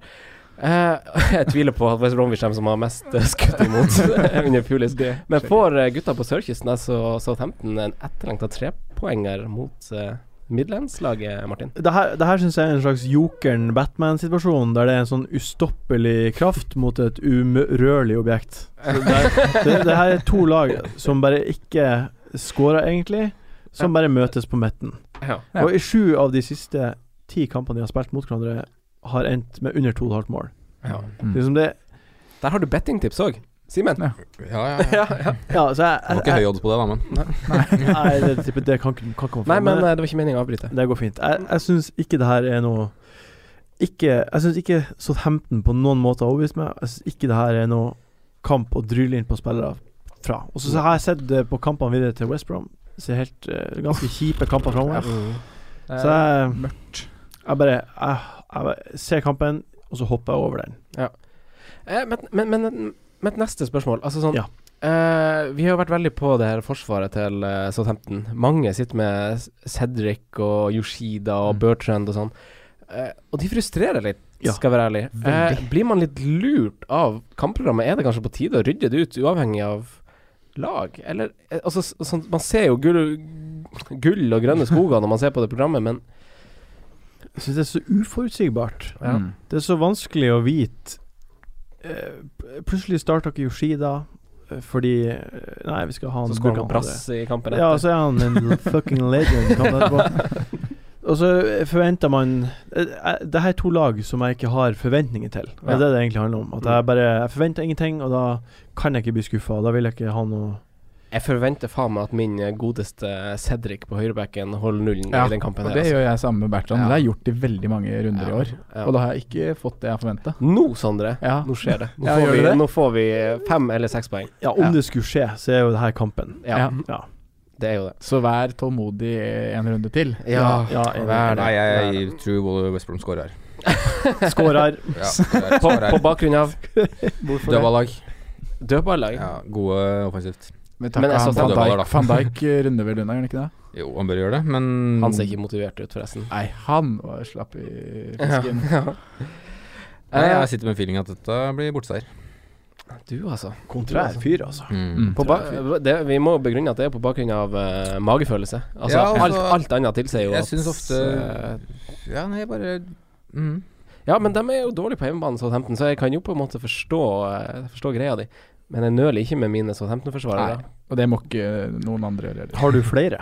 S3: Eh, *laughs* jeg tviler på at West Bromwich er de som har mest eh, skudd imot
S5: *laughs*
S3: under Pulis. Men får eh, gutta på sørkysten, her, så Southampton en etterlengta trepoenger mot eh, Midlandslaget, Martin.
S4: Det her, det her syns jeg er en slags jokeren-Batman-situasjon, der det er en sånn ustoppelig kraft mot et umørlig objekt. Så det, er- det, det her er to lag som bare ikke scorer, egentlig, som bare møtes på midten.
S3: Ja.
S5: Ja.
S4: Og i sju av de siste ti kampene de har spilt mot hverandre, har endt med under to og et halvt mål.
S5: Mm.
S4: Liksom det,
S3: Der har du bettingtips òg, Simen.
S5: Ja.
S6: Ja, ja, ja.
S4: ja, så jeg,
S6: Det var ikke høy odds på det, da, men.
S4: Nei, det, typ- det kan, ikke- kan komme
S3: Nei,
S4: fra
S3: men eh, det var ikke meningen å avbryte.
S4: det går fint. Jeg, jeg syns ikke det her er noe ikke, Jeg syns ikke Southampton på noen måte har overbevist meg. Jeg syns ikke det her er noe kamp å dryle inn på spillere fra. Og så har jeg sett eh, på kampene videre til West Brom. Ser helt eh, ganske kjipe kamper framover. Så jeg, jeg bare jeg, jeg bare ser kampen, og så hopper jeg over den.
S3: Eh, men, men, men mitt neste spørsmål Altså sånn
S4: Ja.
S3: eh, Vi har jo vært veldig på det her forsvaret til eh, Southampton. Mange sitter med S- Cedric og Yoshida og
S5: Mm.
S3: Bertrand og sånn. Eh, og de frustrerer litt,
S4: Ja.
S3: skal jeg være ærlig. Eh,
S4: Veldig.
S3: blir man litt lurt av kampprogrammet? Er det kanskje på tide å rydde det ut, uavhengig av lag? Eller eh, Altså, s- sånn, man ser jo gull, gull og grønne skoger når man ser på det programmet, men
S4: Jeg syns det er så uforutsigbart.
S5: Ja. Mm.
S4: Det er så vanskelig å vite Eh, pl- Plutselig starta ikke Yoshida eh, fordi eh, Nei, vi skal ha han
S3: så skårer
S4: Burde
S3: man brass i kampen
S4: Ja,
S3: etter.
S4: så er han en fucking legend. kan man få. Og så forventer man eh, eh, Det her er to lag som jeg ikke har forventninger til. Det er
S3: Ja.
S4: det det egentlig handler om. At jeg
S3: Mm.
S4: bare jeg forventer ingenting, og da kan jeg ikke bli skuffa. Da vil jeg ikke ha noe
S3: Jeg forventer faen meg at min eh, godeste Cedric på høyrebacken holder nullen
S5: Ja,
S3: i den kampen.
S5: Og
S3: her,
S5: det
S3: altså.
S5: gjør jeg sammen med Bertrand.
S3: Ja.
S5: Det har jeg gjort i veldig mange runder i år.
S3: Ja.
S5: Og da har jeg ikke fått det jeg forventa.
S3: Nå, Sondre,
S5: Ja.
S3: nå skjer det. Nå,
S5: Ja, gjør
S3: får vi,
S5: det det?
S3: nå får vi eh, fem eller seks poeng.
S4: Ja, om
S5: Ja.
S4: det skulle skje, så er jo det her kampen.
S3: Ja,
S5: Ja.
S4: Ja.
S3: det er jo det.
S5: Så vær tålmodig en runde til.
S3: Ja,
S4: Ja,
S3: vær det.
S6: Nei,
S3: vær
S6: jeg,
S3: det.
S6: tror West Brom scorer her.
S4: Skårer.
S6: Ja, scorer,
S3: På,
S6: scorer.
S3: på
S6: *laughs*
S3: bakgrunn av
S6: Dødballag.
S3: dødballag.
S6: Ja, gode offensivt.
S5: Men
S3: Men jeg
S5: takka
S3: så
S5: han Van
S6: Sandra var da.
S5: Dijk, Van Dijk eh, runder vel unna, gjør han ikke
S3: *laughs*
S5: det?
S6: Jo, han bør gjøre det, men
S3: Han ser ikke motivert ut, forresten.
S5: Nei, han var slapp i fisken.
S6: Nei, Jeg sitter med en feeling at dette blir borteseier.
S3: Du, altså.
S4: Kontrær fyr, altså.
S5: Mm.
S3: På ba det, vi må begrunne at det er på bakgrunn av eh, magefølelse. Altså,
S6: Ja, altså,
S3: alt, alt annet tilsier jo
S6: jeg
S3: at
S6: synes ofte-
S3: eh,
S6: Ja, nei, bare mm.
S3: Ja, men de er jo dårlige på hjemmebane, Southampton, så jeg kan jo på en måte forstå, eh, forstå greia di. Men jeg nøler ikke med mine Southampton-forsvarere. Nei.
S5: Og det må ikke noen andre gjøre heller.
S4: Har du flere?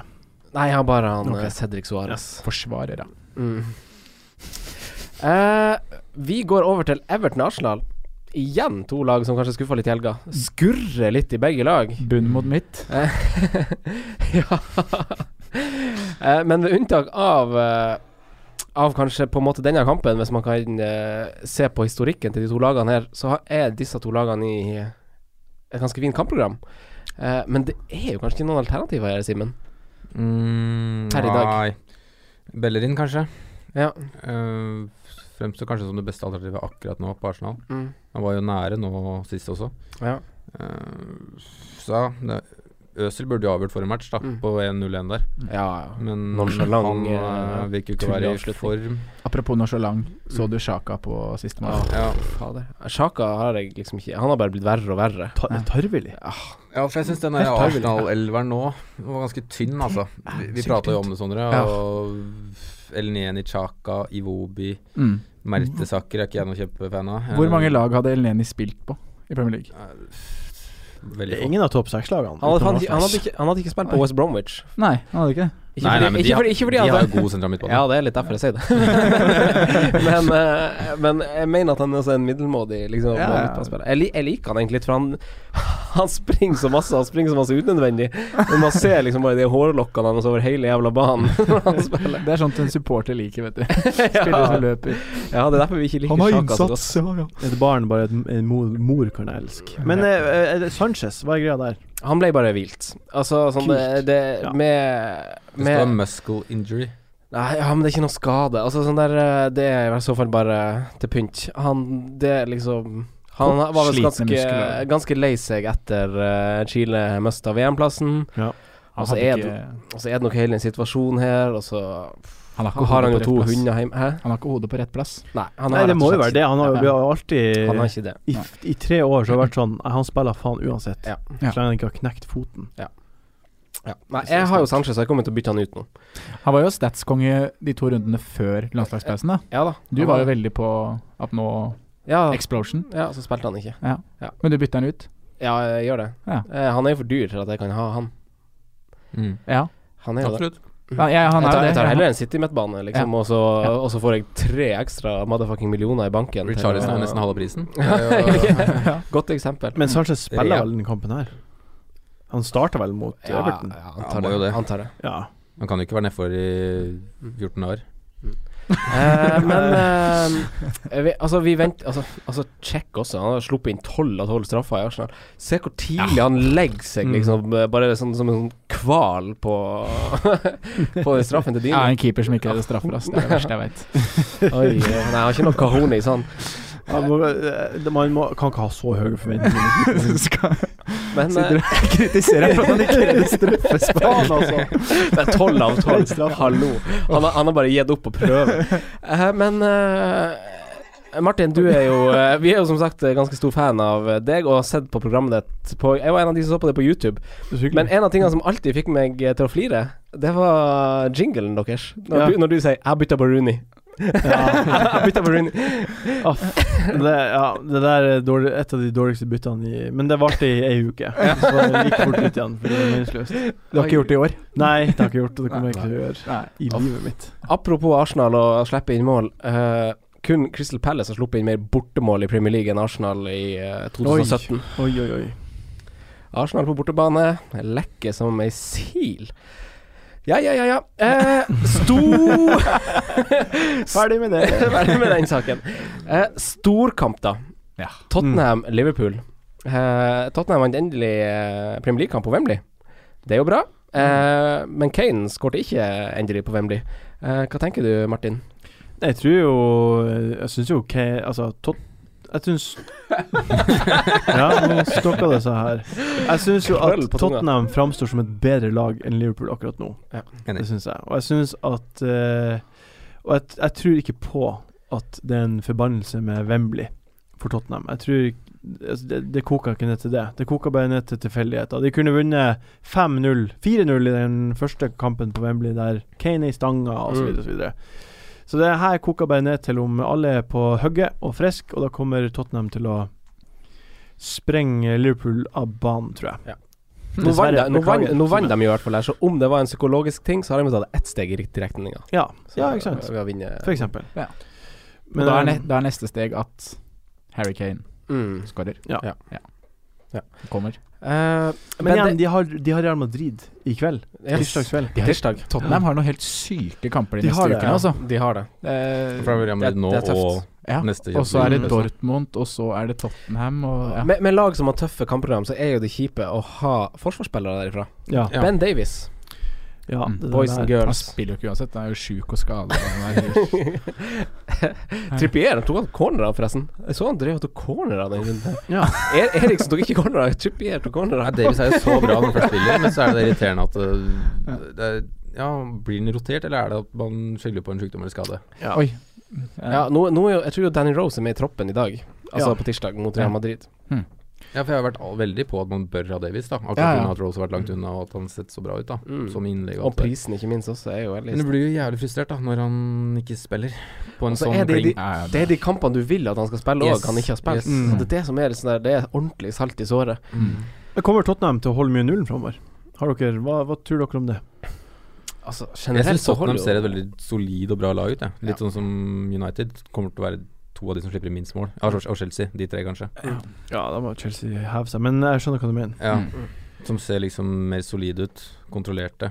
S3: jeg har bare han
S4: Ok.
S3: eh, Cedric Suárez.
S5: Forsvarere.
S3: Mm. Eh, vi går over til Everton Arsenal. Igjen to lag som kanskje skuffa litt i helga. Skurrer litt i begge lag.
S5: Bunn mot mitt.
S3: *laughs* ja. Eh, men ved unntak av eh, Av kanskje på en måte denne kampen, hvis man kan eh, se på historikken til de to lagene her, så har- er disse to lagene i et ganske fint kampprogram. Eh, men det er jo kanskje ikke noen alternativer her, Simen.
S6: Mm,
S3: Per i dag.
S6: Nei. Bellerin, kanskje.
S3: Ja.
S6: Eh, fremstår kanskje som det beste alternativet akkurat nå på Arsenal.
S3: Mm.
S6: Han var jo nære nå sist også.
S3: Ja.
S6: Eh, så det, Øzil burde jo avgjort forrige match, da, på 1-0-1 der. Men
S3: Nonchalant,
S6: han
S3: eh,
S6: eh, virker jo ikke å være i form.
S5: Apropos Norsolang, så du Sjaka på siste mål?
S6: Ja.
S3: Fader. Sjaka har jeg liksom ikke Han har bare blitt verre og verre.
S4: Tarvili?
S6: Ja, for jeg syns den
S3: Helt
S6: der
S3: tarvelig.
S6: Arsenal-elveren nå var ganske tynn, altså. Vi, vi
S3: Sykt
S6: prata jo
S3: tynt.
S6: om det, Sondre.
S3: Ja.
S6: Og Elneni Chaka, Iwobi,
S5: Mm.
S6: Mertesaker er ikke jeg noen kjempefan av. Eh,
S5: Hvor mange lag hadde Elneni spilt på i Premier League?
S6: Veldig få.
S4: Ingen av topp seks-lagene.
S3: Han hadde, han, han, hadde ikke, han hadde ikke spilt på
S5: Nei.
S3: West Bromwich.
S5: Nei, han hadde ikke det.
S3: Ikke
S6: Nei,
S3: fordi,
S6: nei, men de
S3: ikke
S6: har-
S3: fordi, ikke fordi
S6: de
S3: at-
S6: har jo god sentral midtbane.
S3: Ja, det er litt derfor jeg sier
S6: *laughs*
S3: det. men, eh, men jeg mener at han er også en middelmådig liksom,
S4: Ja, ja.
S3: midtbanespiller. Jeg, lik- jeg liker han egentlig litt, for han, *laughs* han springer så masse Han springer så masse unødvendig. Men man ser liksom bare de hårlokkene hans over hele jævla banen. *laughs* når han spiller.
S5: Det er sånt en supporter liker,
S3: *laughs*
S5: vet du. Spillere som løper.
S3: Ja, det er derfor vi ikke liker Sjaka så godt.
S4: Et barn bare et, en mor, mor kan jeg elske. Men eh, eh, Sanchez, hva er greia der?
S3: Han ble bare vilt. Altså sånn det, det
S4: Ja.
S3: med,
S6: Det skal være
S3: med
S6: muscle injury.
S3: Nei, ja, men det er ikke noe skade. Altså sånn der eh, Det er i så fall bare til pynt. Han Det er liksom Han
S5: Kort,
S3: var vel
S5: slitne
S3: ganske,
S5: muskler.
S3: ganske lei seg etter eh, Chile mista VM-plassen.
S4: Ja.
S3: Og
S5: Han hadde
S3: så Altså, er,
S5: ikke-
S3: det- og så er det nok hele den situasjonen her, og så
S5: Han har ikke
S3: har han jo
S5: hodet på
S3: to
S5: rett plass.
S3: hunder hjemme. Hæ?
S5: Han har ikke hodet på rett plass.
S3: Nei, han
S4: Nei,
S3: har
S4: det
S3: rett og
S4: må jo
S3: slett-
S4: være det. Han har jo alltid
S3: Han har ikke det.
S4: i, f- I tre år så har det vært sånn Han spiller faen uansett.
S3: Ja.
S5: Ja.
S4: Så lenge han ikke har knekt foten.
S3: Ja. Nei, jeg har jo Sanchez, så jeg kommer til å bytte han ut nå.
S5: Han var jo statskonge de to rundene før landslagspausen. da
S3: Ja da.
S5: Du
S3: Han
S5: var jo veldig på at nå
S3: ja,
S5: Explosion.
S3: ja, så spilte han ikke.
S5: Ja.
S3: Ja.
S5: Men du bytter den ut?
S3: Ja, jeg gjør det.
S5: Ja.
S3: Eh, han er jo for dyr til at jeg kan ha han.
S6: Mm.
S5: Ja.
S3: Han er jo det.
S6: Absolutt.
S5: ja, ja han
S3: Mm. Jeg
S5: er
S3: tar,
S5: jo
S3: jeg tar
S5: det.
S3: heller en City-midtbane, liksom, og, så, og så får jeg tre ekstra motherfucking millioner i banken. til
S6: Richarlison
S3: å-
S6: er nesten halve
S3: *laughs*
S6: prisen. Det er jo-
S3: Godt eksempel.
S4: Men Sanchez spiller
S6: Ja.
S4: vel den kampen her? Han starter vel mot
S3: ja,
S4: Everton?
S3: ja, han
S6: Ja,
S3: tar
S6: må
S3: det.
S6: jo det.
S3: Han tar det.
S4: Ja.
S6: Han kan jo ikke være nedfor i 14 år.
S3: Eh, men eh, vi, altså, vi venter Altså, altså check også. Han har sluppet inn tolv av tolv straffer i Arsenal. Se hvor tidlig han legger seg, liksom. eh, Bare sånn, som en sånn kval på *laughs* På den straffen til
S5: Jeg er
S3: Dino.
S5: en keeper som ikke redder straffer, ass. Det er det verste jeg veit.
S3: *laughs* Oi, eh, nei, han har ikke noe sånn. kahonis, han.
S4: Han må, eh, man må, kan ikke ha så høye forventninger.
S3: *laughs* Men eh,
S5: Kritiserer jeg for at han
S4: *laughs*
S5: ikke redder straffespark.
S4: altså.
S3: Det er tolv av tolv. Hallo. Han har, han har bare gitt opp å prøve. Eh, men eh, Martin, du er jo eh, Vi er jo som sagt eh, ganske stor fan av eh, deg og har sett på programmet ditt på Jeg var en av de som så på det på YouTube. Men en av tingene som alltid fikk meg eh, til å flire, det var jinglen deres. Når,
S4: Ja.
S3: du, når du sier 'Jeg bytta på Rooney'. *laughs* jeg bytta på Rooney.
S4: Ah, f- det, ja, det der er dårlig, et av de dårligste byttene i Men det varte i ei uke. Så det gikk fort ut igjen, for det var meningsløst.
S5: Du har ikke gjort det i år?
S4: Nei, det har jeg ikke gjort, og det kommer jeg ikke til å gjøre
S5: Nei.
S4: i livet mitt.
S3: Apropos Arsenal og å slippe inn mål. eh, kun Crystal Palace har sluppet inn mer bortemål i Premier League enn Arsenal i eh, 2017.
S4: Oi, oi, oi.
S3: Arsenal på bortebane. Lekker som ei sil. Ja, ja, ja, ja. Eh, sto
S4: *laughs* Ferdig med det.
S3: *laughs* Ferdig med den saken. Eh, storkamp, da.
S5: Ja.
S4: Mm.
S3: Tottenham-Liverpool. Eh, Tottenham vant endelig eh, Premier League-kamp på Wembley. Det er jo bra.
S4: Mm.
S3: Eh, men Kane skårte ikke endelig på Wembley. Eh, hva tenker du, Martin?
S4: Jeg tror jo Jeg syns jo K... Altså, tot, jeg
S3: *laughs*
S4: syns Ja, nå stokka det seg her. Jeg syns jo at
S3: Krøll på tunga.
S4: Tottenham framstår som et bedre lag enn Liverpool akkurat nå.
S3: Ja,
S6: enig.
S4: det syns jeg. Og jeg syns at eh, Og jeg, jeg tror ikke på at det er en forbannelse med Wembley for Tottenham. Jeg tror altså, det, det koker ikke ned til det. Det koker bare ned til tilfeldigheter. De kunne vunnet 5-0, 4-0 i den første kampen på Wembley, der Kane er i stanga osv.
S3: Mm.
S4: osv. Så, videre. så det her koker bare ned til om alle er på hugget og friske, og da kommer Tottenham til å sprenge Liverpool av banen, tror jeg.
S3: Nå vant de-
S4: Dessverre,
S3: nå vant-
S4: beklager.
S3: nå vant de i hvert fall her, så om det var en psykologisk ting, så har de tatt ett steg i riktig retning. da.
S4: Ja,
S3: Så
S4: ja ikke sant.
S3: Ved å vinne
S4: For eksempel.
S5: Ja.
S4: Men,
S5: da, er ne
S4: eh,
S5: da er neste steg at Harry Kane
S3: Mm.
S5: skårer.
S4: Ja.
S3: Ja. Ja.
S5: Kommer.
S3: Eh,
S4: men igjen,
S3: det-
S4: de har, de har Real Madrid i kveld.
S3: Ja.
S4: Tirsdag kveld.
S5: De har-
S3: Tirsdag.
S5: Tottenham har noen helt syke kamper de,
S4: De
S5: neste
S4: har det,
S5: ukene, altså.
S3: De har det.
S5: Eh,
S6: Fra Real Madrid
S3: det-
S6: nå
S3: det er tøft.
S6: og
S5: ja.
S6: neste
S5: Og så er det
S6: kjøp.
S3: liksom.
S5: Dortmund, og så er det Tottenham, og ja.
S3: Med, med lag som har tøffe kampprogram, så er jo det kjipe å ha forsvarsspillere derifra.
S4: Ja.
S6: Ja.
S3: Ben Davies.
S4: Ja,
S5: Mm.
S4: det
S3: Boys
S4: der-
S3: and
S5: Han
S3: girls.
S5: spiller jo ikke uansett, han er jo sjuk og skada. han er-
S3: Trippier han E, tok han cornera, forresten. Jeg så han drev og tok cornera den runden.
S5: Ja.
S3: Er Eriksen E, tok ikke cornera, Trippier E tok cornera.
S6: Ja, Davies er jo så bra når han først spiller, men så er det irriterende at øh, det er, ja, Blir den rotert, eller er det at man skylder på en sykdom eller skade?
S5: Ja. Oi.
S3: Ja, nå, nå er jo, jeg tror jo Danny Rose er med i troppen i dag, altså
S5: Ja.
S3: på tirsdag mot
S5: Ja.
S3: Real Madrid.
S6: Ja, for jeg har vært all- veldig på at man bør ha Davies, da. Akkurat
S5: Ja,
S6: ja,
S5: ja.
S6: at Rose har vært langt unna, og at han sett så bra ut, da.
S3: Mm.
S6: Som innlegg og
S3: Og
S6: alt det der.
S3: prisen, ikke minst, også er jo veldig
S6: Men du blir jo jævlig frustrert, da, når han ikke spiller på en
S3: Altså,
S6: sånn
S3: er det, de,
S6: pling.
S5: Ja, ja, det-
S3: det er de kampene du vil at han skal spille, og
S6: Yes.
S3: han ikke har spilt.
S6: Yes.
S3: Og Det er det som er sånn der, det er ordentlig salt i såret.
S4: Men Kommer Tottenham til å holde mye nullen framover? Har dere, hva, hva tror dere om det?
S3: Altså,
S6: Jeg
S3: generelt
S6: syns
S3: så holder
S6: Tottenham
S3: jo
S6: ser et veldig solid og bra lag ut. Jeg. Litt sånn som United. Kommer til å være to av de som slipper inn minst mål. Ja, og og Chelsea, de tre kanskje.
S4: Ja, da må Chelsea heve seg, men jeg skjønner hva du mener.
S6: Ja, Som ser liksom mer solide ut. Kontrollerte.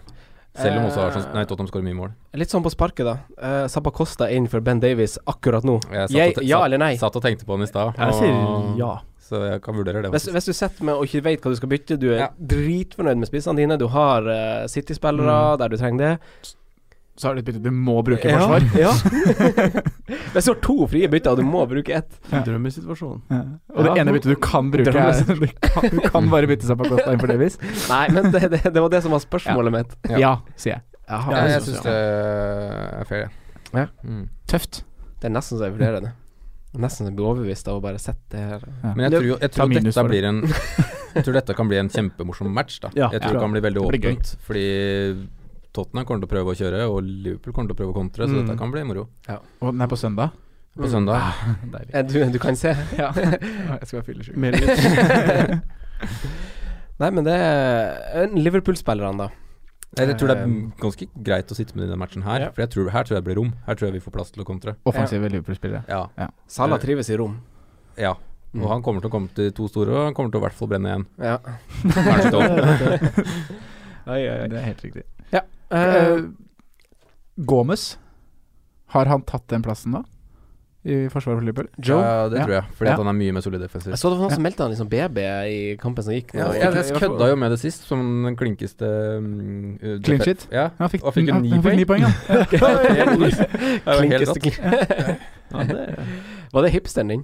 S6: Selv om også Arsenal Nei, Tottenham skårer mye mål.
S3: Litt sånn på sparket, da. Uh, Zappa Costa er innenfor Ben Davies akkurat nå.
S6: Jeg satt
S3: Jeg,
S6: og te-
S3: ja
S6: satt-
S3: eller nei?
S6: Satt og tenkte på han i stad,
S4: Jeg sier
S6: og-
S4: ja.
S6: så jeg kan vurdere det.
S3: Hvis,
S6: faktisk.
S3: hvis du sitter med og ikke vet hva du skal bytte, du er
S6: Ja.
S3: dritfornøyd med spissene dine, du har eh,
S6: Mm.
S3: City-spillere der du trenger det
S5: Så har du et bytte du må bruke i
S3: Ja,
S5: forsvar.
S3: *laughs* ja. Hvis du har to frie bytter og du må bruke ett
S4: Drømmesituasjon.
S5: Og det
S4: Ja.
S5: ene byttet du kan bruke,
S3: Drømmen.
S5: er *laughs* du kan, du kan bare bytte seg på Costa innenfor Davies.
S3: Nei, men det, det, det var det som var spørsmålet mitt.
S6: Ja.
S5: Ja. sier jeg.
S6: ja, jeg
S5: det
S6: syns
S5: synes
S6: det er fair, jeg.
S3: Ja.
S6: Mm.
S5: Tøft.
S3: Det er nesten så jeg vurderer det. Nesten så jeg blir overbevist av å bare sette det her.
S6: Men jeg
S5: Det-
S6: tror, jo- jeg tror
S5: minus
S6: dette
S5: for det.
S6: blir en Jeg tror dette kan bli en kjempemorsom match, da.
S4: Ja,
S6: jeg
S4: ja.
S6: tror det kan bli veldig
S5: Det blir
S6: åpent, fordi Tottenham kommer til å prøve å kjøre, og Liverpool kommer til å prøve å kontre, så
S4: Mm.
S6: dette kan bli moro
S5: Og den er på søndag?
S6: på søndag.
S3: Eh, Du, du kan se.
S5: Jeg skal være fyllesyk. *laughs*
S4: Mer litt.
S3: *laughs* Nei, men det er en Liverpool-spillerne, da. Ehm.
S6: Jeg tror det er ganske greit å sitte med i denne matchen her, for jeg tror, her tror jeg det blir rom. Her tror jeg vi får plass til å kontre.
S5: Offensive Liverpool-spillere.
S6: Ja.
S3: Salah trives i rom.
S6: ja.
S4: Mm.
S6: Og han kommer til å komme til to store, og han kommer til å i hvert fall brenne igjen.
S3: Ja.
S6: Kanskje to.
S5: *laughs* Det er helt riktig.
S3: Eh,
S5: Gomez, har han tatt den plassen da? I forsvaret for Liverpool?
S3: Joe?
S6: Ja, det
S5: Ja.
S6: tror jeg, fordi
S5: Ja.
S6: at han er mye mer solid defensivt.
S3: Jeg så det var noen som meldte han liksom BB i kampen som gikk.
S6: Ja,
S3: nå.
S6: jeg, jeg kødda jo
S3: *laughs*
S6: med det sist, som den klinkeste mm, uh,
S5: Clean
S6: defe-
S5: sheet?
S6: Ja.
S5: Han fikk,
S6: Og fikk
S5: han,
S6: ni
S5: han fikk
S6: poeng.
S5: ni poeng, ja.
S6: *laughs*
S3: Klinkeste
S6: Klinkeste
S3: klink.
S4: Ja, det,
S3: Var det hipsteren din?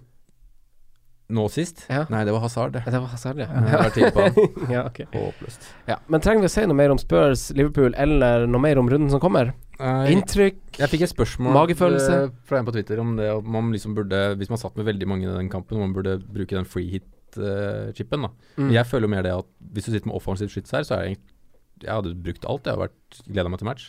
S6: Nå sist?
S3: Ja.
S6: Nei, det var Hazard, det.
S3: Ja, Det var Hazard, ja.
S6: Jeg har tid på han.
S3: *laughs* ja, ok.
S6: Håpløst.
S3: ja. Men trenger vi å si noe mer om Spurs, Liverpool eller noe mer om runden som kommer? Inntrykk?
S6: Jeg fikk et spørsmål
S3: Magefølelse?
S6: eh, fra en på Twitter om det at man liksom burde Hvis man satt med veldig mange i den kampen, man burde bruke den free hit-chipen, da.
S3: Mm.
S6: Men Jeg føler jo mer det at hvis du sitter med offensive shits her, så er jeg egentlig Jeg hadde brukt alt. Jeg hadde gleda meg til match.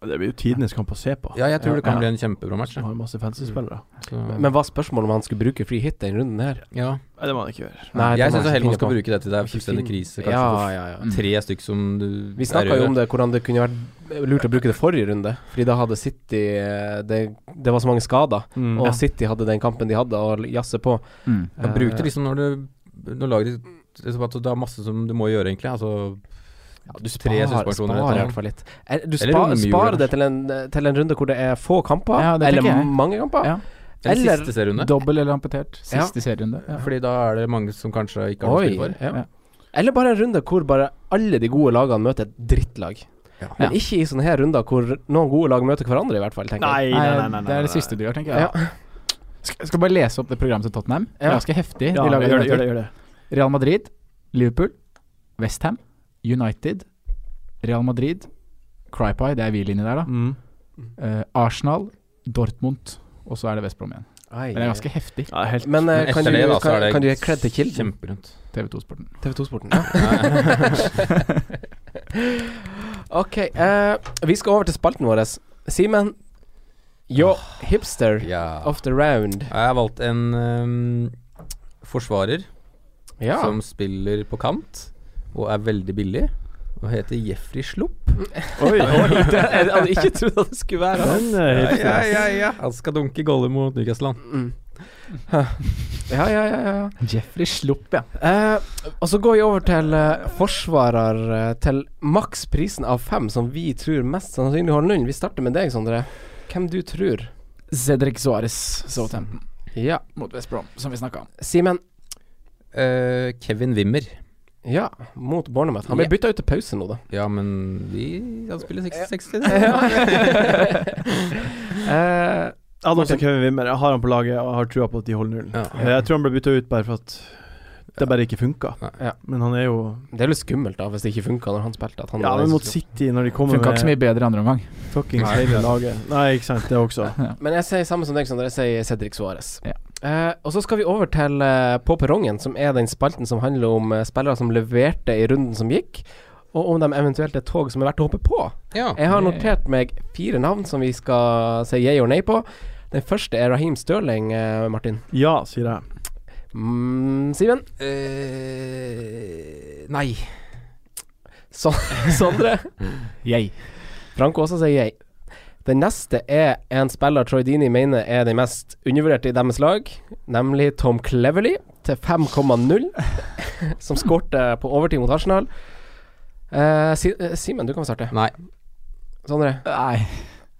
S4: det blir jo tidenes kamp å se på.
S6: Ja, jeg tror det kan
S4: Ja.
S6: bli en kjempebra match.
S4: Som
S6: jeg.
S4: har masse fancy-spillere.
S6: Så,
S3: Men var spørsmålet om han skulle bruke free hit den runden her?
S6: ja.
S4: Nei, det må han ikke gjøre.
S3: Nei,
S6: Jeg
S3: den er
S6: syns
S3: ikke
S6: heller man
S3: fin
S6: skal
S3: på.
S6: bruke det til det er
S3: Ikke
S6: fullstendig
S3: fin.
S6: krise, kanskje.
S3: Ja,
S6: for
S3: ja, ja.
S6: f- Tre stykk som du
S3: Vi snakka jo om det, hvordan det kunne vært lurt å bruke det forrige runde. Fordi da hadde City eh, Det, det var så mange skader, og
S4: Og
S3: City hadde den kampen de hadde, og jazze på. Eh,
S5: Mm.
S6: Ja, bruk det liksom når du Når laget ditt liksom at Det er masse som du må gjøre, egentlig. Altså
S3: Du
S6: Tre
S3: sparer,
S6: suspensjoner,
S3: sparer i
S6: ja.
S3: hvert fall litt. Er- Du
S6: Eller
S3: spa,
S6: romjula,
S3: sparer det
S6: kanskje.
S3: til en, til en runde hvor det er få kamper,
S5: Ja, det
S3: eller
S5: tenker jeg.
S3: mange *laughs* kamper.
S5: Ja.
S6: Eller,
S3: Eller
S6: siste serierunde.
S5: Dobbel eller amputert.
S3: Ja.
S5: Siste serierunde. Ja.
S6: Fordi da er det mange som kanskje ikke har noe å
S3: Oi.
S6: spille for.
S3: Ja. Eller bare en runde hvor bare alle de gode lagene møter et drittlag. Men
S5: Ja.
S3: ikke i sånne her runder hvor noen gode lag møter hverandre, i hvert fall. tenker jeg.
S4: Nei, nei, nei, nei, nei,
S5: det er det
S4: nei.
S5: siste du gjør, tenker jeg. Skal, skal bare lese opp det programmet til Tottenham.
S3: Ja.
S5: Ganske heftig.
S4: Ja,
S5: de lager
S4: gjør det,
S5: United.
S4: gjør det. Gjør det.
S5: Real Madrid, Liverpool, Westham, United, Real Madrid, Crypie, det er vi linje der, da.
S4: Mm.
S5: Eh, Arsenal, Dortmund, og så er det Westbrom igjen.
S3: Ai,
S5: Det er ganske heftig,
S4: Ja, helt
S3: Men eh,
S6: Men
S3: kan,
S6: etter
S3: du,
S6: det da, så er
S3: kan,
S6: det
S3: kan du gi cred til Kilden?
S6: Kjemperundt.
S5: TV2-sporten.
S3: TV2-sporten. *laughs* ok, eh, vi skal over til spalten vår. Simen, yo hipster
S6: Ja.
S3: of the round.
S6: Jeg har valgt en ehm, forsvarer
S3: Ja.
S6: som spiller på kant, og er veldig billig. Og heter Jeffrey Slupp.
S3: *laughs* Oi,
S4: Oi,
S3: *laughs* det jeg hadde ikke trodd at det skulle være sånn. han.
S4: den er helt
S6: ja, ja. Han skal dunke goller mot Newcastle. han.
S3: Ja, ja, ja, ja.
S5: Jeffrey Slupp, ja.
S3: Eh, og så går vi over til eh, forsvarer eh, til maksprisen av fem, som vi tror mest sannsynlig holder nullen. Vi starter med deg, Sondre. Hvem du tror.
S5: Cedric Suárez, Southampton,
S3: Ja.
S5: mot West Brom, som vi snakka om.
S3: Simen.
S6: Eh, Kevin Wimmer.
S3: Ja, mot Bournemouth. Han ble
S6: Ja.
S3: bytta ut til pause *laughs* nå, da.
S6: Ja, men vi Han spiller 60-60,
S3: Eh,
S4: Jeg hadde også
S3: Martin?
S4: Kevin Wimmer. Jeg har han på laget og har trua på at de holder nullen. Eh,
S3: Ja.
S4: Jeg tror han ble bytta ut bare for at det bare ikke funka.
S3: Ja.
S4: Men han er jo
S3: Det er litt skummelt da hvis det ikke funka når han spilte. At han
S4: Ja,
S3: var
S4: men
S3: den
S4: mot
S3: som slo.
S4: City, når de kommer
S5: Funka ikke så mye bedre andre omgang.
S4: Fuckings
S6: Nei, det
S4: hele
S6: er sant.
S4: laget. Nei, ikke sant, det også.
S3: Men jeg sier samme som deg, Sondre. Jeg sier Cedric Suárez.
S5: Ja.
S3: Eh, og så skal vi over til eh, På perrongen, som er den spalten som handler om eh, spillere som leverte i runden som gikk, og om de eventuelt er tog som er verdt å hoppe på.
S6: Ja.
S3: Jeg har notert meg fire navn som vi skal si yeah or nay på. Den første er Raheem Sterling, eh, Martin.
S4: Ja, sier jeg.
S3: Mm, Simen?
S6: Eh, nei.
S3: Son- *laughs* Sondre?
S5: Jeg.
S3: Franco også sier jeg. Den neste er en spiller Troy Dini mener er den mest undervurderte i deres lag, nemlig Tom Cleverley til 5,0, *laughs* som skårte på overtid mot Arsenal. Eh, Si- eh, Simen, du kan få starte.
S6: Nei.
S3: Sondre?
S5: Nei.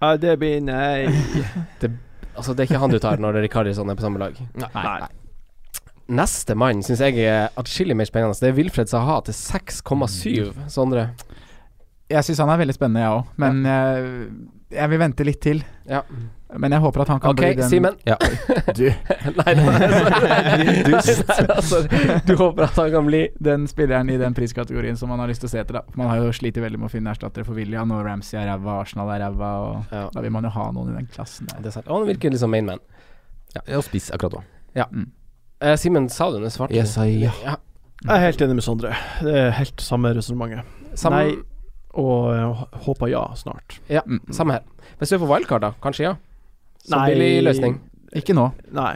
S4: Ja, det blir nei.
S3: Altså, *laughs* det er ikke han du tar når Rikardisson er på samme lag.
S4: Nei.
S3: Neste mann syns jeg er atskillig mer spennende. Det er Wilfred Saha til 6,7. Sondre?
S5: Jeg syns han er veldig spennende, jeg òg, men jeg, jeg vil vente litt til.
S3: Ja.
S5: Men jeg håper at han kan
S3: Ok,
S5: bli den
S3: Simen. *laughs*
S6: Ja.
S5: Du.
S3: Nei, nei, sorry.
S5: Dust.
S3: *laughs* Nei, nei, sorry. Du håper at han kan bli
S5: den spilleren i den priskategorien som man har lyst til å se etter. Da. Man har jo slitt veldig med å finne erstattere for William, og Ramsey er ræva, Arsenal er ræva. Og
S3: Ja.
S5: Da vil man jo ha noen i den klassen der.
S3: Det er sant. Og han virker liksom main man.
S6: Ja, og spiss akkurat nå.
S5: Mm.
S3: Eh, Simen, sa du noe svart?
S6: Jeg sa ja.
S4: Jeg er helt enig med Sondre. Det er helt samme resonnementet.
S3: Samme,
S4: Nei. Og jeg håper ja snart.
S3: Ja, samme her. Hvis du er på wildcard, da? Kanskje ja? Så
S4: Nei.
S3: billig løsning.
S5: Ikke nå.
S4: Nei.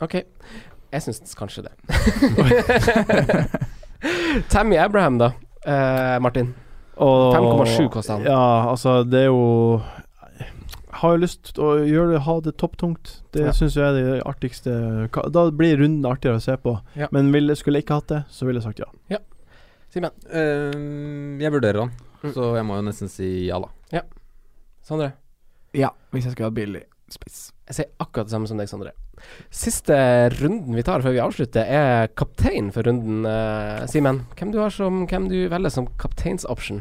S3: Ok. Jeg syns kanskje det. *laughs* Tammy Abraham, da. Eh, Martin.
S4: Og-
S3: 5,7 koster han.
S4: Ja, altså, det er jo Jeg har jo lyst til å gjøre det, ha det topptungt. Det
S3: Ja.
S4: syns jeg er det artigste ka- Da blir runden artigere å se på.
S3: Ja.
S4: Men ville, skulle jeg ikke hatt det, så ville jeg sagt ja.
S6: Eh, jeg vurderer han,
S3: Mm.
S6: så jeg må jo nesten si ja, da.
S3: Sondre.
S5: Ja, hvis jeg skulle hatt billig spiss.
S3: Jeg sier akkurat det samme som deg, Sondre. Siste runden vi tar før vi avslutter, er kaptein for runden. eh, Simen, hvem du har som Hvem du velger som kapteinsoption?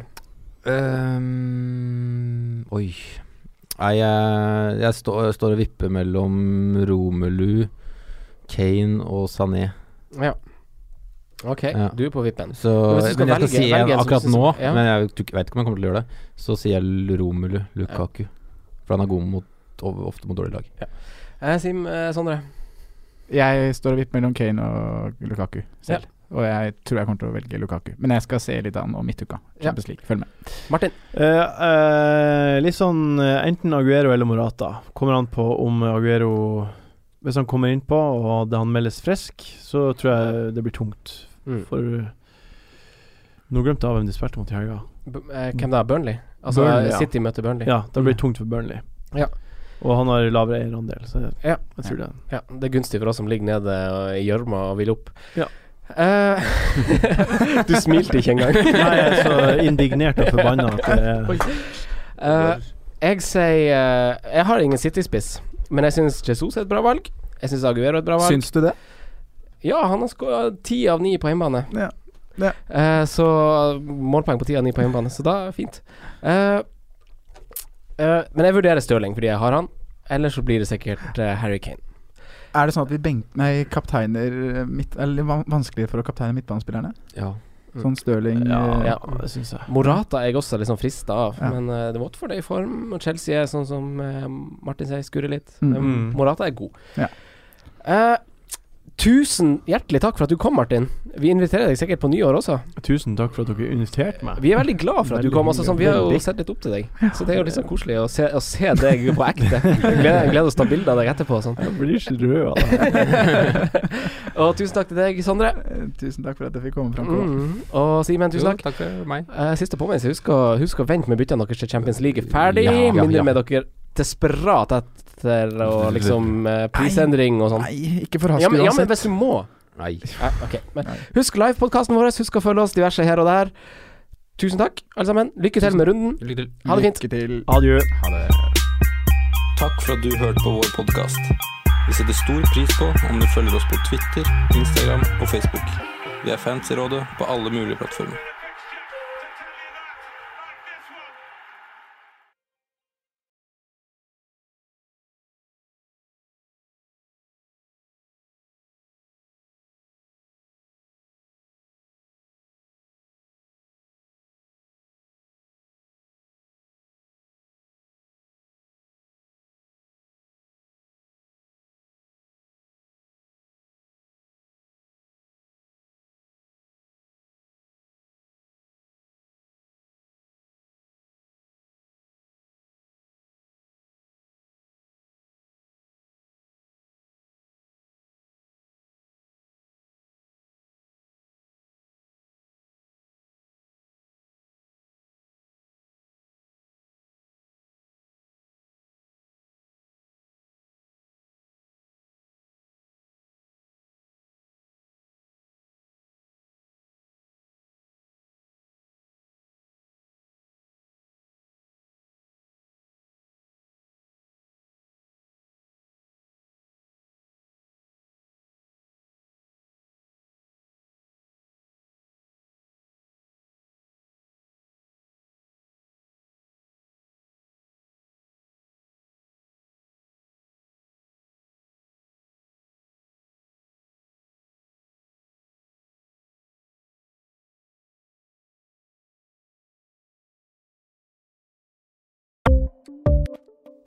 S6: Ehm, oi Nei, jeg, jeg, stå, jeg står og vipper mellom Romelu, Kane og Sané.
S3: Ja. Ok,
S6: Ja.
S3: du er på vippen.
S6: Så,
S3: Hvis du skal
S6: men jeg skal
S3: velge-
S6: si
S3: velge
S6: en
S3: en som
S6: akkurat
S3: du synes-
S6: nå,
S3: ja.
S6: men jeg tror ikke- vet ikke om jeg kommer til å gjøre det. Så sier jeg Romelu Lukaku. For han er god mot, ov- ofte mot dårlige lag.
S3: Eh, Sim, eh, Sondre.
S5: Jeg står og vipper mellom Kane og Lukaku selv.
S3: Ja.
S5: Og jeg tror jeg kommer til å velge Lukaku. Men jeg skal se litt an om midtuka.
S3: Ja.
S5: Champions League. Følg med.
S3: Martin.
S4: Eh, eh, litt sånn eh, enten Aguero eller Morata. Kommer an på om Aguero Hvis han kommer innpå og det han meldes frisk, så tror jeg det blir tungt.
S3: Mm.
S4: For Nå glemte jeg hvem de spilte mot i helga.
S3: B eh, hvem da? Burnley? Altså
S4: Burnley, Mm. ja.
S3: City møter Burnley.
S4: Ja, det blir tungt for Burnley.
S3: Ja.
S4: Og han har lavere eierandel, så jeg,
S3: Ja.
S4: jeg tror det.
S3: Ja, det er gunstig for oss som ligger nede og- i gjørma og vil opp.
S4: Ja.
S3: Eh, *laughs* du smilte ikke engang.
S4: *laughs* Nei, jeg er så indignert og forbanna at det er
S3: Eh, jeg sier eh, Jeg har ingen City-spiss, men jeg syns Jesus er et bra valg. Jeg syns Aguero er et bra valg.
S5: Syns du det?
S3: Ja, han har skåra ti av ni på hjemmebane.
S5: Ja. Ja.
S3: Eh, så målpoeng på ti av ni på hjemmebane, så da er det fint. Eh, eh, men jeg vurderer Stirling fordi jeg har han. Ellers så blir det sikkert eh, Harry Kane.
S5: Er det sånn at vi benk... Nei, kapteiner eh, midt... Eller van- vanskeligere for å kapteine midtbanespillerne?
S6: Ja.
S5: Sånn Stirling
S4: Ja,
S5: eh,
S3: Ja.
S4: det syns jeg.
S3: Morata er jeg også liksom frista av,
S5: Ja.
S3: men eh, det er Watford er i form. Og Chelsea er sånn som eh, Martin sier, skurrer litt.
S5: Mm.
S3: Men
S4: Mm.
S3: Morata er god.
S5: Ja.
S3: Eh, tusen hjertelig takk for at du kom, Martin. Vi inviterer deg sikkert på nyår også.
S4: Tusen takk for at dere inviterte meg.
S3: Vi er veldig glad for at du
S4: Veldig
S3: kom. Altså, sånn, vi har jo
S4: hyggelig.
S3: sett litt opp til deg, så det er jo litt sånn koselig å se, å se deg på ekte. Jeg gleder, jeg gleder oss til å ta bilde av deg etterpå. og Sånn.
S4: Jeg blir så rød av det.
S3: Og tusen takk til deg, Sondre.
S5: eh, Tusen takk for at jeg fikk komme fram. Kåre.
S3: Mm. Og Simen, tusen takk.
S6: Jo, takk for meg.
S3: Eh, siste påminnelse, husk å, husk å vente med byttene deres til Champions League er ferdig.
S6: Ja, ja,
S3: Mindre
S6: ja.
S3: med dere desperat etter
S6: *laughs*
S3: og liksom eh, prisendring og sånn.
S5: Nei, ikke for
S3: Ja,
S5: hasken
S3: men, ja, men
S5: uansett.
S3: hvis du må.
S6: Nei.
S3: Ja, ok. men, husk livepodkasten vår, husk å følge oss diverse her og der. Tusen takk, alle sammen. Lykke til med runden.
S6: Lykke til.
S3: Ha det fint.
S5: Lykke til.
S4: Adjø.
S7: Takk for at du hørte på vår podkast. Vi setter stor pris på om du følger oss på Twitter, Instagram og Facebook.
S3: Vi er fans i rådet på alle mulige plattformer.